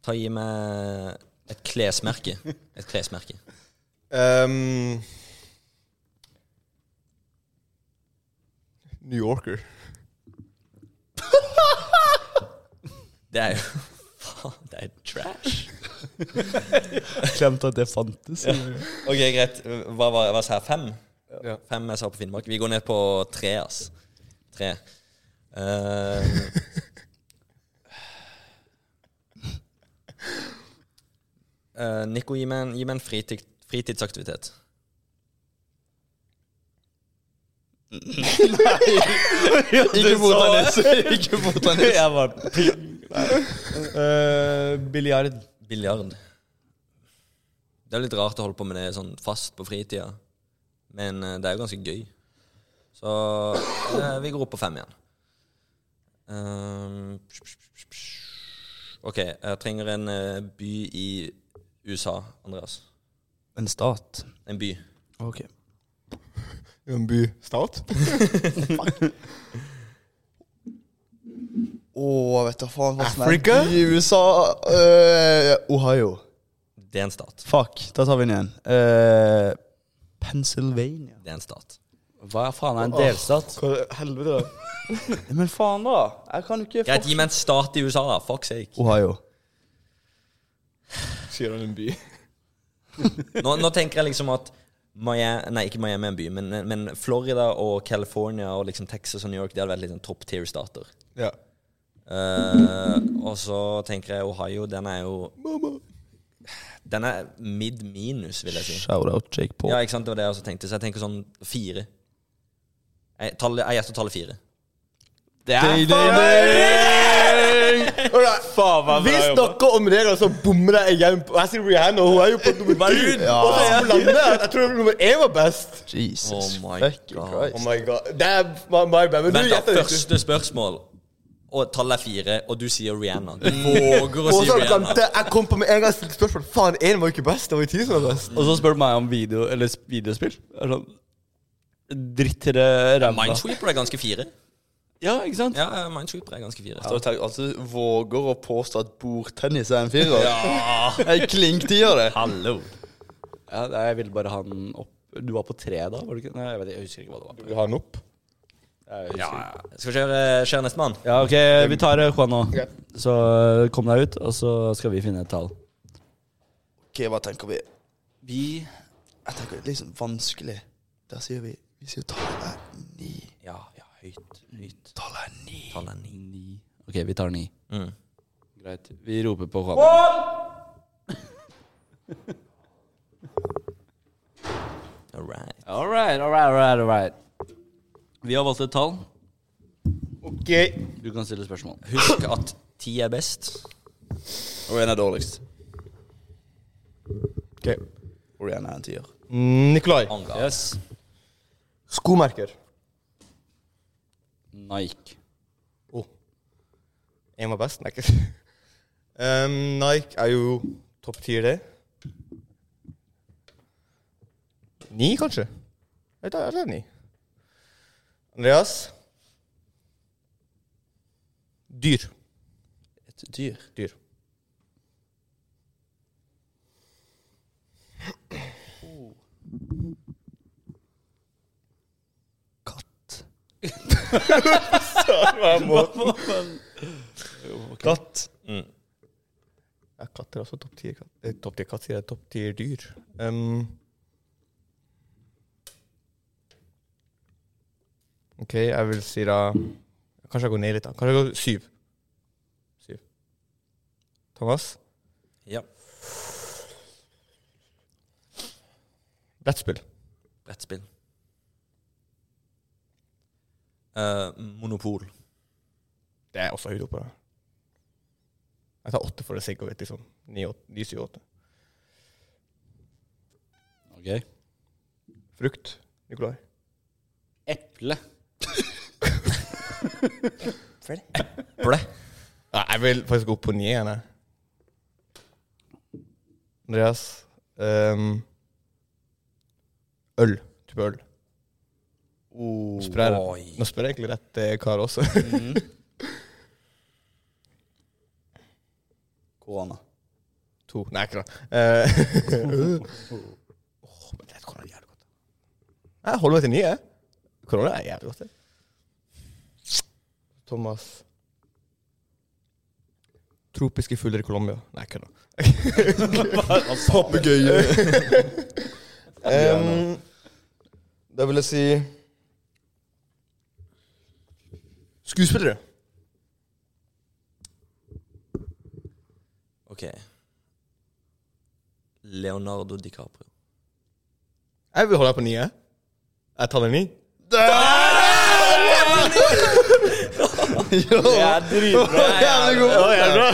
Speaker 3: Ta i meg et klesmerke. Et klesmerke.
Speaker 4: Ehm, New Yorker.
Speaker 3: Det er jo [laughs] Faen, det er trash.
Speaker 1: Glemte at det fantes.
Speaker 3: Ok, greit. Hva var hva sa jeg? Fem?
Speaker 4: Ja.
Speaker 3: Fem jeg sa på Finnmark. Vi går ned på tre, ass. Tre. Eh, eh, Nico, gi meg en, gi meg en fritid, fritidsaktivitet.
Speaker 1: Ikke Botanes. Ikke Botanes. Jeg var Biljard.
Speaker 3: Biljard. Det er litt rart å holde på med det sånn fast på fritida, men eh, det er jo ganske gøy. Så eh, vi går opp på fem igjen. Ehm, OK, jeg trenger en eh, by i USA, Andreas.
Speaker 1: [laughs] En stat.
Speaker 3: En by.
Speaker 1: Ok.
Speaker 4: En by. [laughs] Stat?
Speaker 1: Å, vet du faen hva som er
Speaker 4: Africa?
Speaker 1: I USA eh, Ohio.
Speaker 3: Det er en stat.
Speaker 1: Fuck, da tar vi den igjen. Eh, Pennsylvania.
Speaker 3: Det er en stat.
Speaker 2: Hva faen er en delstat?
Speaker 4: Hva helvete, da?
Speaker 1: [laughs] Men faen, da. Jeg kan jo ikke
Speaker 3: Greit, gi meg en stat i USA, da. Fuck sake.
Speaker 1: Ohio.
Speaker 4: Sier han en by?
Speaker 3: Nå, nå tenker jeg liksom at Miami, nei, ikke Miami er en by, men, men Florida og California og liksom Texas og New York Det hadde vært litt sånn top tier-stater.
Speaker 4: Ja.
Speaker 3: Eh, og så tenker jeg Ohio, den er jo Den er mid minus, vil jeg si.
Speaker 1: Shout-out Jake Paul.
Speaker 3: Ja, ikke sant, det var det jeg også tenkte. Så jeg tenker sånn fire. Jeg, tallet, jeg gjetter tallet fire.
Speaker 2: Det er faen meg bra
Speaker 4: Vi
Speaker 2: jobba.
Speaker 4: snakker om regler, så bommer jeg igjen. på- Jeg sier Rihanna, og hun er jo på nummer ti.
Speaker 1: Ja.
Speaker 4: Og så er hun på landet. Jeg tror nummer én var best.
Speaker 1: Jesus
Speaker 3: Oh my
Speaker 1: fucking
Speaker 3: God.
Speaker 4: Oh
Speaker 1: Christ.
Speaker 4: my god. Det er my, my bad. Men du
Speaker 3: Vent, da.
Speaker 4: gjetter riktig.
Speaker 3: Første spørsmål, og tallet er fire, og du sier Rihanna. Du våger å
Speaker 4: Og
Speaker 3: si
Speaker 4: så
Speaker 3: Rihanna.
Speaker 4: glemte jeg- jeg kom på med en gang jeg stilte spørsmål. Faen, én var jo ikke best. Det var jo ti som var best.
Speaker 2: Og så spør du meg om video, eller s- videospill. Er Sånn, dritt i det ræva.
Speaker 3: Minesweeper er ganske fire.
Speaker 2: Ja, ikke sant?
Speaker 3: Ja, ja, Minesweeper er ganske fire.
Speaker 1: Så tenk, altså, du våger å påstå at bordtennis er en firer? Jeg klinktier
Speaker 3: [laughs]
Speaker 1: det.
Speaker 2: Hallo. Ja, nei, jeg ville bare ha den opp. Du var på tre da? var du ikke? Nei, jeg, vet, ikke, jeg husker ikke hva det var.
Speaker 4: Vi har den opp.
Speaker 2: Jeg husker
Speaker 3: Ja,
Speaker 2: ikke.
Speaker 3: ja. Skal vi kjøre, kjøre nestemann?
Speaker 2: ja, ok, vi tar eh, Juan nå.
Speaker 4: Ok.
Speaker 2: Så eh, kom deg ut, og så skal vi finne et tall.
Speaker 1: Ok, hva tenker vi?
Speaker 2: Vi
Speaker 1: Jeg tenker det er liksom vanskelig. Der sier vi Vi sier tallet er ni.
Speaker 3: Ja, ja, høyt. Høyt.
Speaker 1: Tallet er ni.
Speaker 3: Tallet er ni.
Speaker 2: Ni. Ok, vi tar ni.
Speaker 3: Mm.
Speaker 2: Greit. Vi roper på Juan.
Speaker 3: All right.
Speaker 2: All right, all right, all right, all right. Vi har valgt et tall.
Speaker 4: Ok.
Speaker 2: Du kan stille spørsmål.
Speaker 3: Husk at ti er best.
Speaker 1: Og én er dårligst.
Speaker 4: okay.
Speaker 1: Og én er en tier.
Speaker 4: Mm, Nikolai.
Speaker 3: Anga.
Speaker 2: Yes.
Speaker 4: Skomerker.
Speaker 2: Nike.
Speaker 4: Oh. Én var best. Nei, ikke [laughs] Ehm, Nike er jo topp tier, det. Ni, kanskje? Jeg tar, jeg tar ni. Andreas? Dyr.
Speaker 1: Et dyr.
Speaker 4: Dyr.
Speaker 1: Katt.
Speaker 4: Katt.
Speaker 3: Mm.
Speaker 4: Ja, katter er også topp tier. Katt. Eh, Topp tier katt, sier jeg. Topp tier dyr. Ehm. OK, jeg vil si da Kanskje jeg går ned litt, da. Kanskje jeg går syv. Syv. Thomas?
Speaker 3: Ja.
Speaker 4: Brettspill.
Speaker 3: Brettspill. Eh, monopol.
Speaker 4: Det er også høyt oppe. da. Jeg tar åtte for det sikkerhet, liksom. Ni, åt- ni, syv, åtte.
Speaker 2: Ok.
Speaker 4: Frukt. Nikolai.
Speaker 2: Eple.
Speaker 3: Ble.
Speaker 4: Ja, jeg vil faktisk gå opp på ni igjen, jeg. Andreas ehm, Øl. Type øl. Nå spør jeg,
Speaker 3: Oi.
Speaker 4: nå spør jeg egentlig rett eh, kar også.
Speaker 1: Korona.
Speaker 4: to. Nei, ikke da. Eh, [laughs] Åh, men det korona er jævlig godt. Jeg holder meg til nye. jeg. Korona er jævlig godt. Det. Thomas Tropiske fugler i Colombia. Nei, kødda. Papegøye. [laughs] Em, da vil jeg si Skuespillere.
Speaker 3: OK. Leonardo DiCaprio.
Speaker 4: Jeg vil holde deg på nye. Jeg tar den ni.
Speaker 3: Ah,
Speaker 2: Det er dritbra.
Speaker 4: Jævlig god. Ja, jævlig bra.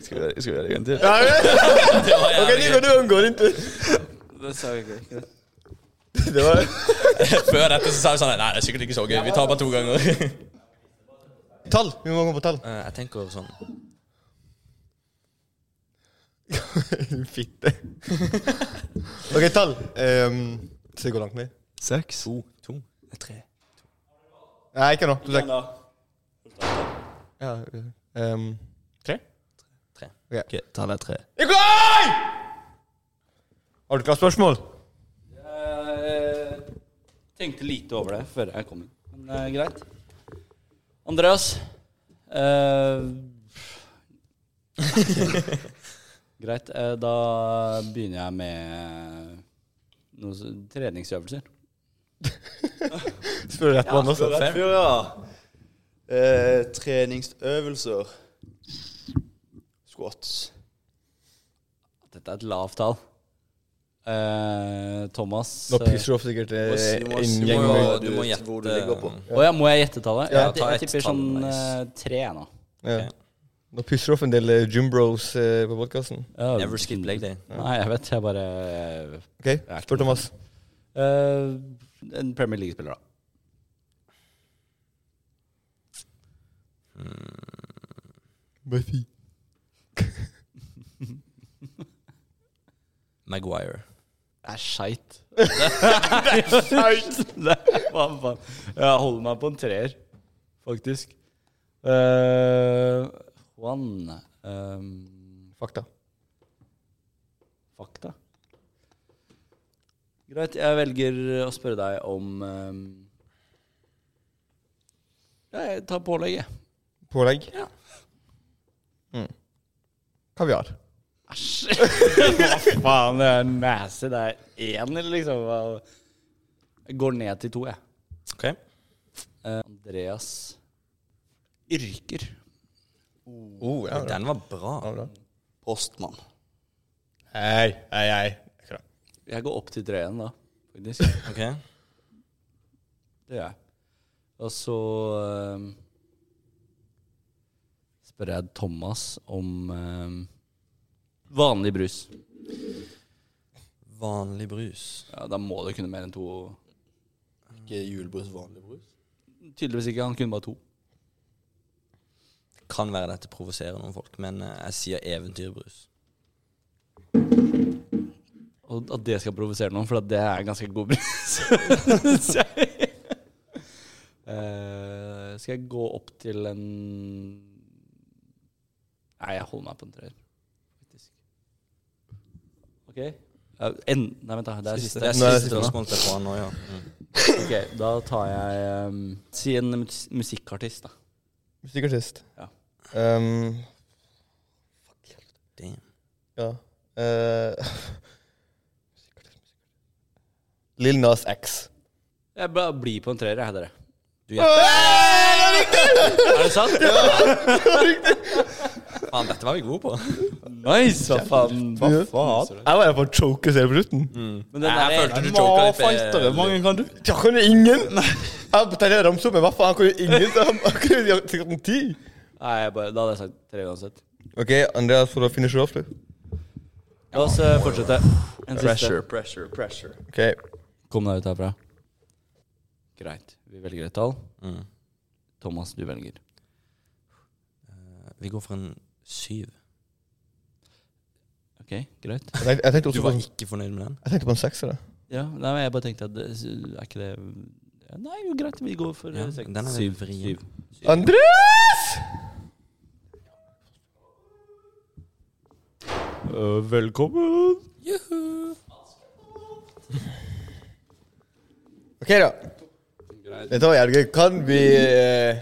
Speaker 1: Skal vi, gjøre- Eh, skal vi gjøre det en gang til?
Speaker 4: Ok, du, du unngår ikke.
Speaker 2: Det sa jeg ikke.
Speaker 4: Det var
Speaker 3: Før dette så sa vi sånn Nei, det er sikkert ikke så gøy. Vi tar bare to ganger.
Speaker 4: Tall! Vi må gå på tall.
Speaker 3: Eh, jeg tenker sånn
Speaker 4: Fitte. [laughs] ok, tall. Um, Se hvor langt ned.
Speaker 1: Seks.
Speaker 3: To. To. eh, Tre.
Speaker 4: Nei, ikke nå. Du tek. Ja, um, tre?
Speaker 3: Tre.
Speaker 1: Ok, tallet er tre.
Speaker 4: Ikke Har du ikke hatt spørsmål?
Speaker 2: Jeg eh, tenkte lite over det før jeg kom inn. Men det er greit. Andreas. eh, [laughs] greit. eh, da begynner jeg med noen s- treningsøvelser.
Speaker 4: Spør rett mann også.
Speaker 1: Rett fyr, ja. Eh, treningsøvelser. Squats.
Speaker 2: Dette er et lavt tall. Eh, Thomas
Speaker 4: Nå
Speaker 2: eh,
Speaker 4: pisser du opp sikkert eh, inn
Speaker 3: må
Speaker 4: gjeng
Speaker 3: jo-
Speaker 4: med-
Speaker 3: du må gjette-
Speaker 1: hvor du eh, ligger på.
Speaker 2: Å ja, må jeg gjette tallet?
Speaker 4: Ja,
Speaker 2: jeg,
Speaker 3: ta
Speaker 2: jeg
Speaker 3: ett
Speaker 2: tipper
Speaker 3: tall,
Speaker 2: sånn
Speaker 3: nice.
Speaker 2: eh, tre jeg nå.
Speaker 4: Ja. Nå pisser du opp en del eh, gymbros eh, på podkasten.
Speaker 2: Ja,
Speaker 3: Never skip leg day.
Speaker 2: Nei, jeg vet. Jeg bare eh,
Speaker 4: OK, spør Thomas.
Speaker 2: Eh, en Premier League-spiller, da.
Speaker 4: Buffy.
Speaker 3: Maguire.
Speaker 2: Det er skeit. [laughs] det er skeit! Hva faen? Jeg holder meg på en treer, faktisk. Eh, Juan ehm,
Speaker 4: Fakta.
Speaker 2: Fakta. Greit, jeg velger å spørre deg om ehm, ja, Jeg tar pålegget.
Speaker 4: Pålegg?
Speaker 2: Ja.
Speaker 4: Mm. Kaviar.
Speaker 2: Æsj! Hva faen, det er nasty. Det er én, liksom. Hva- Jeg går ned til to, jeg.
Speaker 3: OK.
Speaker 2: Eh, Andreas yrker.
Speaker 4: Oh, ja,
Speaker 3: Den var bra.
Speaker 1: Postmann.
Speaker 4: Hei, hei, hei.
Speaker 2: Jeg går opp til treen, da.
Speaker 3: [laughs]
Speaker 2: Faktisk.
Speaker 3: OK.
Speaker 2: Det gjør jeg. Og så eh, spør jeg Thomas om eh, vanlig brus.
Speaker 3: Vanlig brus.
Speaker 2: Ja, da må du kunne mer enn to.
Speaker 1: Ikke julebrus, vanlig brus.
Speaker 2: Tydeligvis ikke. Han kunne bare to.
Speaker 3: Kan være dette provoserer noen folk, men eh, jeg sier eventyrbrus.
Speaker 2: Og at det skal provosere noen, for at det er ganske god [laughs] brus. Eh, skal jeg gå opp til en Nei, jeg holder meg på en treer. faktisk. OK. Ja, En, nei, vent, da. Det er siste.
Speaker 3: Det er
Speaker 4: Nå er det
Speaker 3: siste
Speaker 4: siste nå.
Speaker 3: spørsmål til Juan nå, ja. Mm.
Speaker 2: Ok, Da tar jeg ehm, Si en mus- musikkartist, da.
Speaker 4: Musikkartist.
Speaker 2: Ja.
Speaker 4: Um,
Speaker 3: Damn.
Speaker 4: ja. Eh, [laughs] Lil Nas X.
Speaker 2: Jeg bare blir på en treer, jeg, dere.
Speaker 3: Du
Speaker 4: Ah!
Speaker 3: gjetter.
Speaker 2: Er det sant?
Speaker 3: [laughs] Faen, dette var vi gode på.
Speaker 2: Nice! Hva faen?
Speaker 1: Hva faen?
Speaker 4: [laughs] Jeg var der for å choke selv på slutten.
Speaker 2: Men den
Speaker 3: Jeg
Speaker 2: der,
Speaker 3: følte du choka litt.
Speaker 1: Hva
Speaker 3: eh,
Speaker 1: mange kan du?
Speaker 4: Jeg kan jo ingen! Jeg tenkte jeg ramset opp, men hva faen? Jeg kan jo ingen. [laughs] så Han han kunne jo sikkert en ti.
Speaker 2: nei, jeg bare, da hadde jeg sagt tre uansett.
Speaker 4: Ok, Andreas, får du finishe off, du?
Speaker 2: La oss eh, fortsette. En
Speaker 1: Pressure, pressure, pressure.
Speaker 4: Ok.
Speaker 2: Kom deg ut herfra. Greit. Vi velger et tall.
Speaker 3: Mm.
Speaker 2: Thomas, du velger.
Speaker 3: eh, Vi går for en syv.
Speaker 2: Ok, greit.
Speaker 4: Jeg tenkte, jeg tenkte
Speaker 3: Du
Speaker 4: også på
Speaker 3: var
Speaker 4: en,
Speaker 3: ikke fornøyd med den?
Speaker 4: jeg tenkte på en sekser. da.
Speaker 2: Ja, nei, men jeg bare tenkte at det, Er ikke det ja, Nei, jo greit, vi går for
Speaker 3: Ja,
Speaker 2: eh, seks.
Speaker 3: den er litt
Speaker 2: syv.
Speaker 3: vrien.
Speaker 2: syv.
Speaker 4: Andreas!
Speaker 2: velkommen!
Speaker 4: OK, da. Dette var jævlig gøy. Kan vi eh,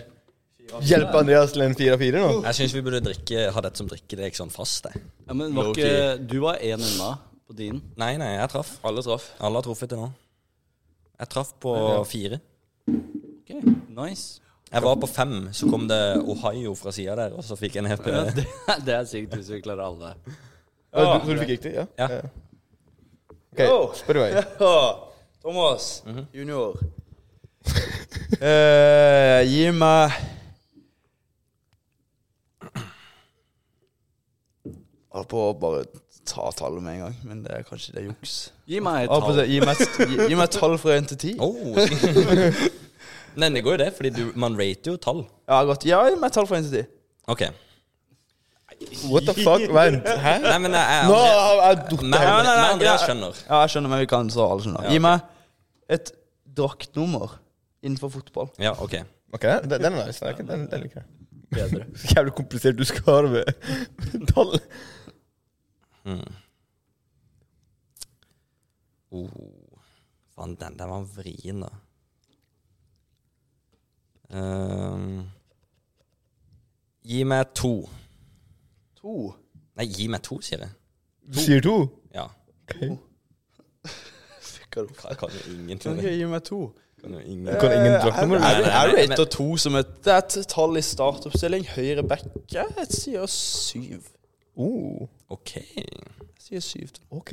Speaker 4: hjelpe Andreas til en fire av fire nå?
Speaker 3: Jeg syns vi burde drikke, ha dette som drikke. Det er ikke sånn fast, det.
Speaker 2: Ja, men var
Speaker 3: Low
Speaker 2: ikke, du var én unna på din.
Speaker 3: Nei, nei, jeg traff. Alle traff. Alle har truffet til nå. Jeg traff på fire.
Speaker 2: Ok, nice.
Speaker 3: Jeg var på fem, så kom det Ohio fra sida der, og så fikk jeg ned på
Speaker 2: Ja, [laughs] det, det er sykt hvis vi klarer alle.
Speaker 4: Ja, du, så du fikk riktig? Ja.
Speaker 3: Ja.
Speaker 1: Yo.
Speaker 4: OK, spør du meg.
Speaker 1: Ja, Thomas junior. Eh, gi meg Jeg holdt på å bare ta tallet med en gang, men det er kanskje det er juks.
Speaker 2: Gi meg et
Speaker 1: Jeg holdt på å
Speaker 2: tall.
Speaker 1: si, Gi meg, et- gi, gi meg et tall fra én til ti.
Speaker 3: Oh. [laughs] Nei, det går jo det, fordi du, man rater jo tall.
Speaker 1: Ja, godt. Ja, gi meg et tall fra én til ti.
Speaker 3: OK.
Speaker 4: What the
Speaker 1: [laughs]
Speaker 4: fuck? Vent, hæ?
Speaker 3: Nei, men jeg, jeg,
Speaker 4: Nå
Speaker 3: Andreas,
Speaker 4: har jeg datt
Speaker 3: men,
Speaker 1: nei, nei,
Speaker 3: men Andreas
Speaker 1: jeg-
Speaker 3: skjønner.
Speaker 1: Ja, jeg skjønner, men vi kan så alle skjønner. Gi meg et draktnummer innenfor fotball.
Speaker 3: Ja, OK.
Speaker 4: Ok, den, den er nice. Den, den, den liker jeg. Så jævlig komplisert du skal ha det med [laughs] tall.
Speaker 3: Oh. Faen, den der var vrien, da. Ehm, gi meg to.
Speaker 1: To.
Speaker 3: Nei, gi meg to, sier jeg.
Speaker 4: Du sier to?
Speaker 3: Ja.
Speaker 1: Fikk jeg det
Speaker 3: Jeg kan jo ingenting.
Speaker 1: Ok,
Speaker 3: Jeg
Speaker 1: gi meg to.
Speaker 3: Kan jo ingen.
Speaker 4: Du kan ingen
Speaker 1: Eh,
Speaker 4: draktnummer?
Speaker 1: Jeg,
Speaker 3: Nei,
Speaker 1: jeg,
Speaker 3: nei, nei,
Speaker 1: rater to som et Det er et tall i startoppstilling. Høyre back. Jeg sier syv.
Speaker 4: Oh,
Speaker 3: OK.
Speaker 1: Jeg sier syv. til-
Speaker 4: ok.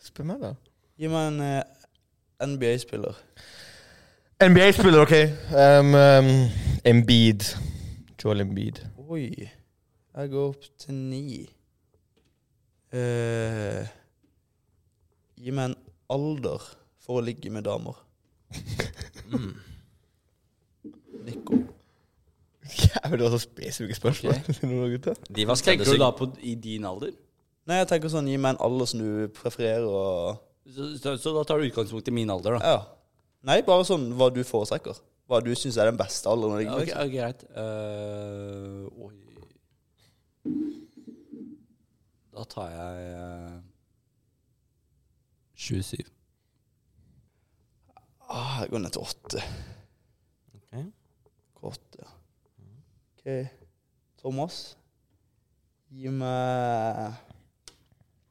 Speaker 4: Spør meg, da.
Speaker 1: Gi meg en eh, NBA-spiller.
Speaker 4: NBA-spiller, OK. Um, um, Embiid. Joel Embiid. [laughs]
Speaker 1: Oi. Jeg går opp til ni. Eh, gi meg en alder for å ligge med damer. Nico.
Speaker 4: Jævlig, det var så spesifikke spørsmål. Noen av gutta.
Speaker 3: De var
Speaker 2: Tenker du
Speaker 3: skreddersydd.
Speaker 2: da på i din alder?
Speaker 1: Nei, jeg tenker sånn, gi meg en alder som du prefererer å
Speaker 2: Så, så, så da tar du utgangspunkt i min alder, da.
Speaker 1: Ja. Nei, bare sånn hva du foretrekker. Hva du syns er den beste alderen å ligge
Speaker 2: Ja,
Speaker 1: med.
Speaker 2: ok, ok, greit. Eh, oi. Da tar jeg eh, 27.
Speaker 1: Ah, jeg går ned til åtte.
Speaker 3: Ok.
Speaker 1: Åtte, ja. Ok. Thomas, gi meg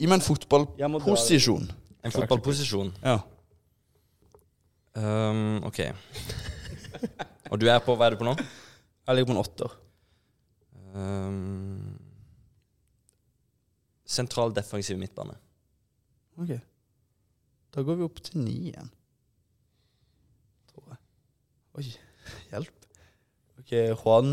Speaker 1: Gi meg
Speaker 2: Jeg må
Speaker 1: en
Speaker 2: dra-
Speaker 1: fotballposisjon.
Speaker 3: En fotballposisjon.
Speaker 1: Ja.
Speaker 3: Ehm, OK. Og du er på Hva er du på nå?
Speaker 1: Jeg ligger på en åtter.
Speaker 3: Ehm, sentral defensiv midtbane.
Speaker 1: Ok. Da går vi opp til ni igjen. Tror jeg. Oi, hjelp. Ok, Juan.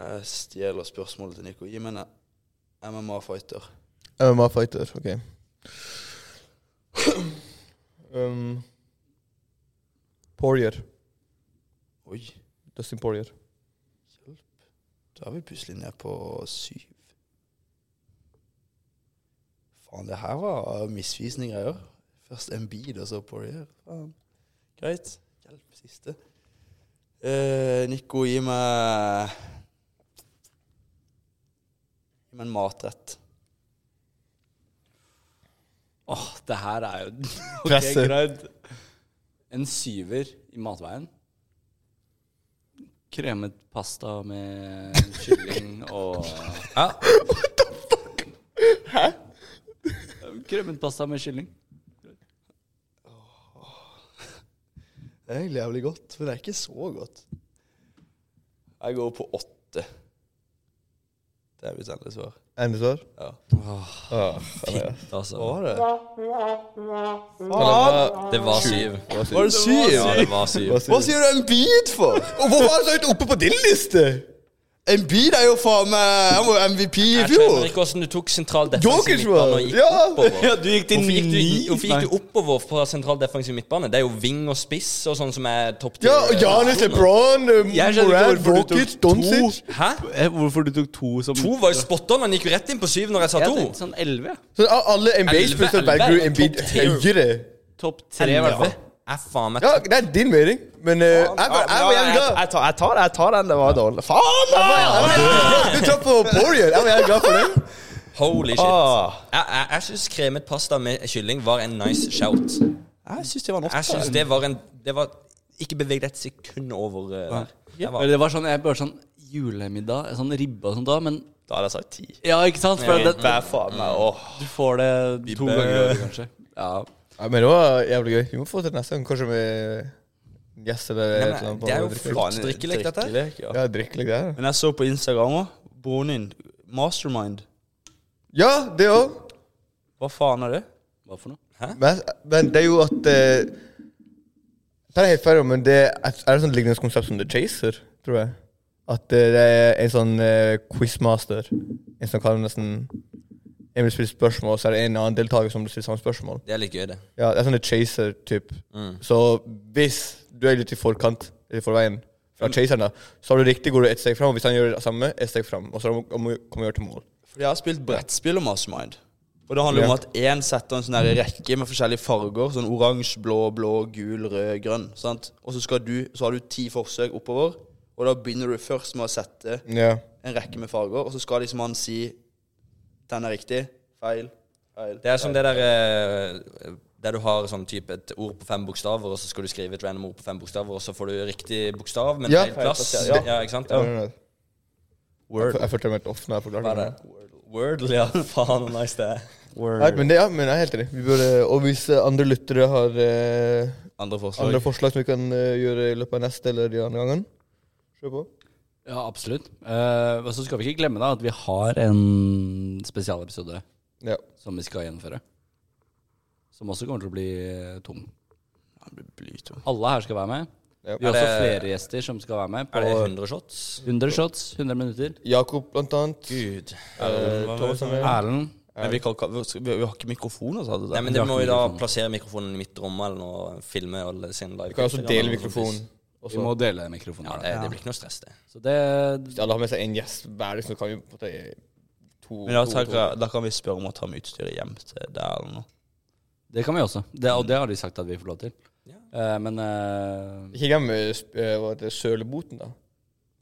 Speaker 1: Jeg stjeler spørsmålet til Nico. Gi meg en MMA-fighter.
Speaker 4: MMA-fighter, OK. Um, Poirier.
Speaker 1: Oi,
Speaker 4: Dustin Poirier.
Speaker 1: hjelp. Da er vi plutselig ned på syv. Faen, det her var misvisende greier. Først Embiid, og så Poirier. Faen. Greit. Hjelp, siste. Eh, Nico, gi meg Gi meg en matrett.
Speaker 2: Åh, det her er jo Ok,
Speaker 4: Presser.
Speaker 2: greit. En syver i matveien. Kremet pasta med kylling og
Speaker 3: Ja,
Speaker 2: Kremet pasta med kylling.
Speaker 1: Det er egentlig jævlig godt, men det er ikke så godt. Jeg går på åtte. Det er mitt endelige svar.
Speaker 4: Endelig svar?
Speaker 1: Ja.
Speaker 4: Ah, Andreas.
Speaker 3: altså.
Speaker 1: Hva var det?
Speaker 3: Det var syv.
Speaker 1: Var det syv?
Speaker 3: Ja, det var syv.
Speaker 1: Hva sier du en bit for?
Speaker 4: Og hvorfor er det så høyt oppe på din liste?
Speaker 1: Embiid er jo faen meg Han var jo MVP i
Speaker 3: Jeg skjønner
Speaker 1: fjor!
Speaker 3: ikke hvordan du tok sentral
Speaker 4: Jokic
Speaker 3: defensiv midtbane og gikk
Speaker 4: var- ja.
Speaker 3: oppover.
Speaker 2: Ja, du gikk til
Speaker 3: Hvorfor gikk,
Speaker 2: ni?
Speaker 3: du, hvorfor gikk du oppover fra sentral defensiv midtbane? Det er jo ving og spiss og sånn som er topp
Speaker 4: Ja, og Janis LeBron, eh,
Speaker 2: Jeg skjønner ikke
Speaker 4: Moran,
Speaker 2: hvorfor du tok
Speaker 4: Brokic,
Speaker 2: to.
Speaker 4: Doncic
Speaker 3: Hæ?
Speaker 2: Eh, Hvorfor du tok to som
Speaker 3: To var jo spot on. Han gikk jo rett inn på syv når jeg sa
Speaker 2: Jeg
Speaker 3: to.
Speaker 2: tenkte sånn elleve.
Speaker 4: Så av alle NBA-spillere
Speaker 3: Elleve,
Speaker 4: velger du
Speaker 3: elleve,
Speaker 4: Embiid
Speaker 3: topp tier.
Speaker 4: høyere.
Speaker 2: Topp tre, i hvert fall.
Speaker 3: Jeg faen meg
Speaker 4: Ja, det er din mening, men eh, jeg var jeg var jævlig glad.
Speaker 1: Jeg tar, jeg tar, jeg tar den. Det var dårlig. Faen, da!
Speaker 4: Du traff på Poirier. Jeg var jævlig glad for det.
Speaker 3: Holy shit.
Speaker 1: Ah.
Speaker 3: Jeg, jeg, jeg syns kremet pasta med kylling var en nice shout.
Speaker 1: Ah. Jeg syns det var
Speaker 3: Jeg
Speaker 1: norsk.
Speaker 3: syns det var en Det var Ikke beveg deg et sekund over eh, der. Jeg var-
Speaker 2: Eller det var sånn, jeg bare sånn julemiddag, sånn ribbe og sånt da, men
Speaker 1: Da hadde jeg sagt ti.
Speaker 2: Ja, ikke sant? For det,
Speaker 1: Vær faen meg åh.
Speaker 2: du får det to ganger i året, kanskje. Ja.
Speaker 4: Ja, men det var jævlig gøy. Vi må få til neste gang, kanskje med gjest eller
Speaker 3: Nei,
Speaker 4: et
Speaker 3: men eh,
Speaker 4: eller annet.
Speaker 3: det er jo
Speaker 4: drikke.
Speaker 3: flott drikkelek, dette. her.
Speaker 1: Drikkelek, ja.
Speaker 4: Ja, drikkelek, det er det.
Speaker 1: Men jeg så på Instagram òg. Broren din, Mastermind.
Speaker 4: Ja, det òg.
Speaker 1: Hva faen er det?
Speaker 2: Hva for noe?
Speaker 4: Men, men det er jo at eh, Det er helt feil, men det er, er det sånn lignende konsept som The Chaser, tror jeg. At eh, det er en sånn eh, quizmaster. En som kan nesten En vil stille spørsmål, så er det en annen deltaker som stiller samme spørsmål.
Speaker 3: Det er litt gøy, det.
Speaker 4: Ja, det er sånn The chaser typ Så hvis du er litt i forkant, eller forveien, fra chaseren, da, så har du riktig, går du ett steg fram. Og hvis han gjør det samme, ett steg fram. Og så må- må- kommer du gjøre til mål.
Speaker 1: Fordi jeg har spilt brettspill og Mastermind. Og det handler om
Speaker 4: Ja.
Speaker 1: at én setter en sånn her rekke med forskjellige farger. Sånn oransje, blå, blå, gul, rød, grønn. Sant? Og så, skal du, så har du ti forsøk oppover. Og da begynner du først med å sette
Speaker 4: Ja.
Speaker 1: en rekke med farger. Og så skal liksom han si den er riktig, feil, feil.
Speaker 3: Det er som det der eh, Der du har sånn type et ord på fem bokstaver, og så skal du skrive et random ord på fem bokstaver, og så får du riktig bokstav, men
Speaker 4: Ja.
Speaker 3: feil plass.
Speaker 1: Feil
Speaker 3: Ja.
Speaker 1: plass,
Speaker 3: ikke sant?
Speaker 4: Ja.
Speaker 3: Ja.
Speaker 4: Jeg, jeg følte meg helt off når jeg
Speaker 3: Hva
Speaker 4: forklarte
Speaker 3: er
Speaker 4: det.
Speaker 3: det? Wordle, ja. [laughs] Faen, så nice det er.
Speaker 4: Nei, men det, ja, men jeg er helt enig. Vi burde, og hvis eh, andre lyttere har eh,
Speaker 1: Andre forslag.
Speaker 4: andre forslag som vi kan eh, gjøre i løpet av neste eller de andre gangen, kjør på.
Speaker 2: Ja, absolutt. Eh, og så skal vi ikke glemme da at vi har en spesialepisode
Speaker 4: Ja.
Speaker 2: som vi skal gjennomføre. Som også kommer til å bli eh, tung.
Speaker 1: Han blir blytung.
Speaker 2: Alle her skal være med.
Speaker 4: Ja.
Speaker 2: Vi har
Speaker 3: Er
Speaker 2: også
Speaker 3: det-
Speaker 2: flere gjester som skal være med
Speaker 3: Er det
Speaker 2: på
Speaker 3: 100 shots?
Speaker 2: 100 shots, 100 minutter.
Speaker 4: Jakob, blant annet.
Speaker 3: Gud.
Speaker 4: Eh, Thomas er med.
Speaker 2: Erlend
Speaker 1: Men vi, kan, ikke- vi, skal- vi har ikke mikrofoner, sa du
Speaker 3: Nei,
Speaker 1: der.
Speaker 3: men det
Speaker 2: Vi har
Speaker 3: må
Speaker 2: ikke
Speaker 3: jo da
Speaker 2: mikrofoner.
Speaker 3: plassere mikrofonen i mitt rom eller noe, filme alle sine live.
Speaker 4: Vi kan også dele mikrofonen.
Speaker 2: Vi må dele mikrofonen.
Speaker 3: Ja,
Speaker 2: her,
Speaker 3: det,
Speaker 2: da.
Speaker 3: det blir ikke noe stress, det.
Speaker 2: Så det
Speaker 4: Hvis alle har med seg en gjest hver, så kan vi på en måte to,
Speaker 1: Men da,
Speaker 4: to-
Speaker 1: tenker
Speaker 4: to-
Speaker 1: jeg, da kan vi spørre om å ta med utstyret hjem til deg eller noe.
Speaker 2: Det kan vi også. Det, og det har de sagt at vi får lov til.
Speaker 3: Ja.
Speaker 2: Eh, men eh,
Speaker 4: Ikke glem eh, sp- eh, hva heter det, søleboten, da.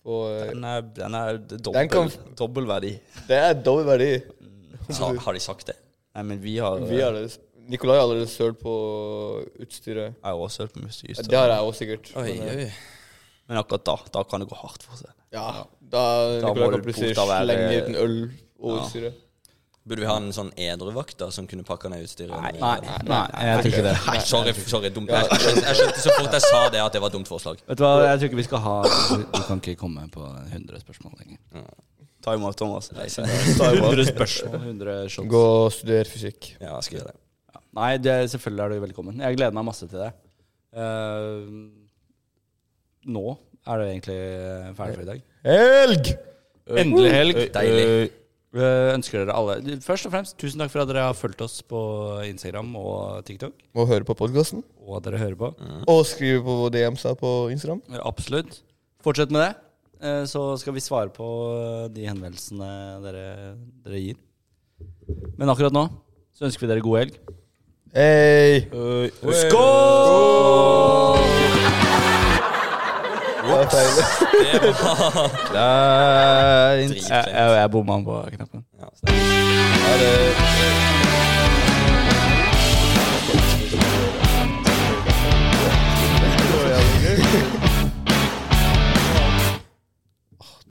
Speaker 4: Og, eh,
Speaker 1: Den er, den er
Speaker 4: Den kan-
Speaker 1: dobbel, dobbel verdi.
Speaker 4: det er dobbel verdi.
Speaker 3: Sa, har de sagt det?
Speaker 1: Nei, men vi har eh,
Speaker 4: Vi har det. Nikolai har allerede søl på utstyret.
Speaker 1: Jeg har også hørt på musikk.
Speaker 4: Ja, Det har jeg også sikkert.
Speaker 3: Oi,
Speaker 4: Men, eh,
Speaker 3: oi.
Speaker 1: Men akkurat da da kan det gå hardt for seg.
Speaker 4: Ja, da,
Speaker 1: Da
Speaker 4: Nikolai
Speaker 1: må
Speaker 4: kan
Speaker 1: du
Speaker 4: plutselig
Speaker 1: porta være-
Speaker 4: slenge ut en øl over utstyret.
Speaker 3: Burde vi ha en sånn edruvakt da, som kunne pakke ned utstyret?
Speaker 2: jeg tror ikke det.
Speaker 3: Nei, sorry, sorry dumt. Jeg, jeg, skjønte, jeg skjønte så fort jeg sa det, at det var et dumt forslag.
Speaker 2: Vet du hva, jeg tror ikke vi skal ha Du kan ikke komme på 100 spørsmål lenger.
Speaker 1: Time out, Thomas.
Speaker 2: spørsmål? 100 shots.
Speaker 4: Gå og studere fysikk.
Speaker 3: Ja, jeg skal gjøre det.
Speaker 2: Ja. Nei, det, selvfølgelig er du velkommen. Jeg gleder meg masse til det. Eh, nå er det egentlig ferdig for i dag.
Speaker 4: Helg!
Speaker 2: Endelig helg.
Speaker 3: Deilig.
Speaker 2: Eh, ønsker dere alle Først og fremst, tusen takk for at dere har fulgt oss på Instagram og TikTok.
Speaker 4: Må høre på podkasten.
Speaker 2: Og at dere hører på.
Speaker 4: Og skrive på DM-sa på Instagram.
Speaker 2: Eh, Absolutt. Fortsett med det. eh, Så skal vi svare på eh, de henvendelsene dere, dere gir. Men akkurat nå så ønsker vi dere god helg.
Speaker 4: Hey. Det var feil.
Speaker 2: Skål!
Speaker 4: Eh,
Speaker 1: Jeg, jeg, jeg bomma på knappen.
Speaker 3: Ja, så det er-
Speaker 4: Ha det.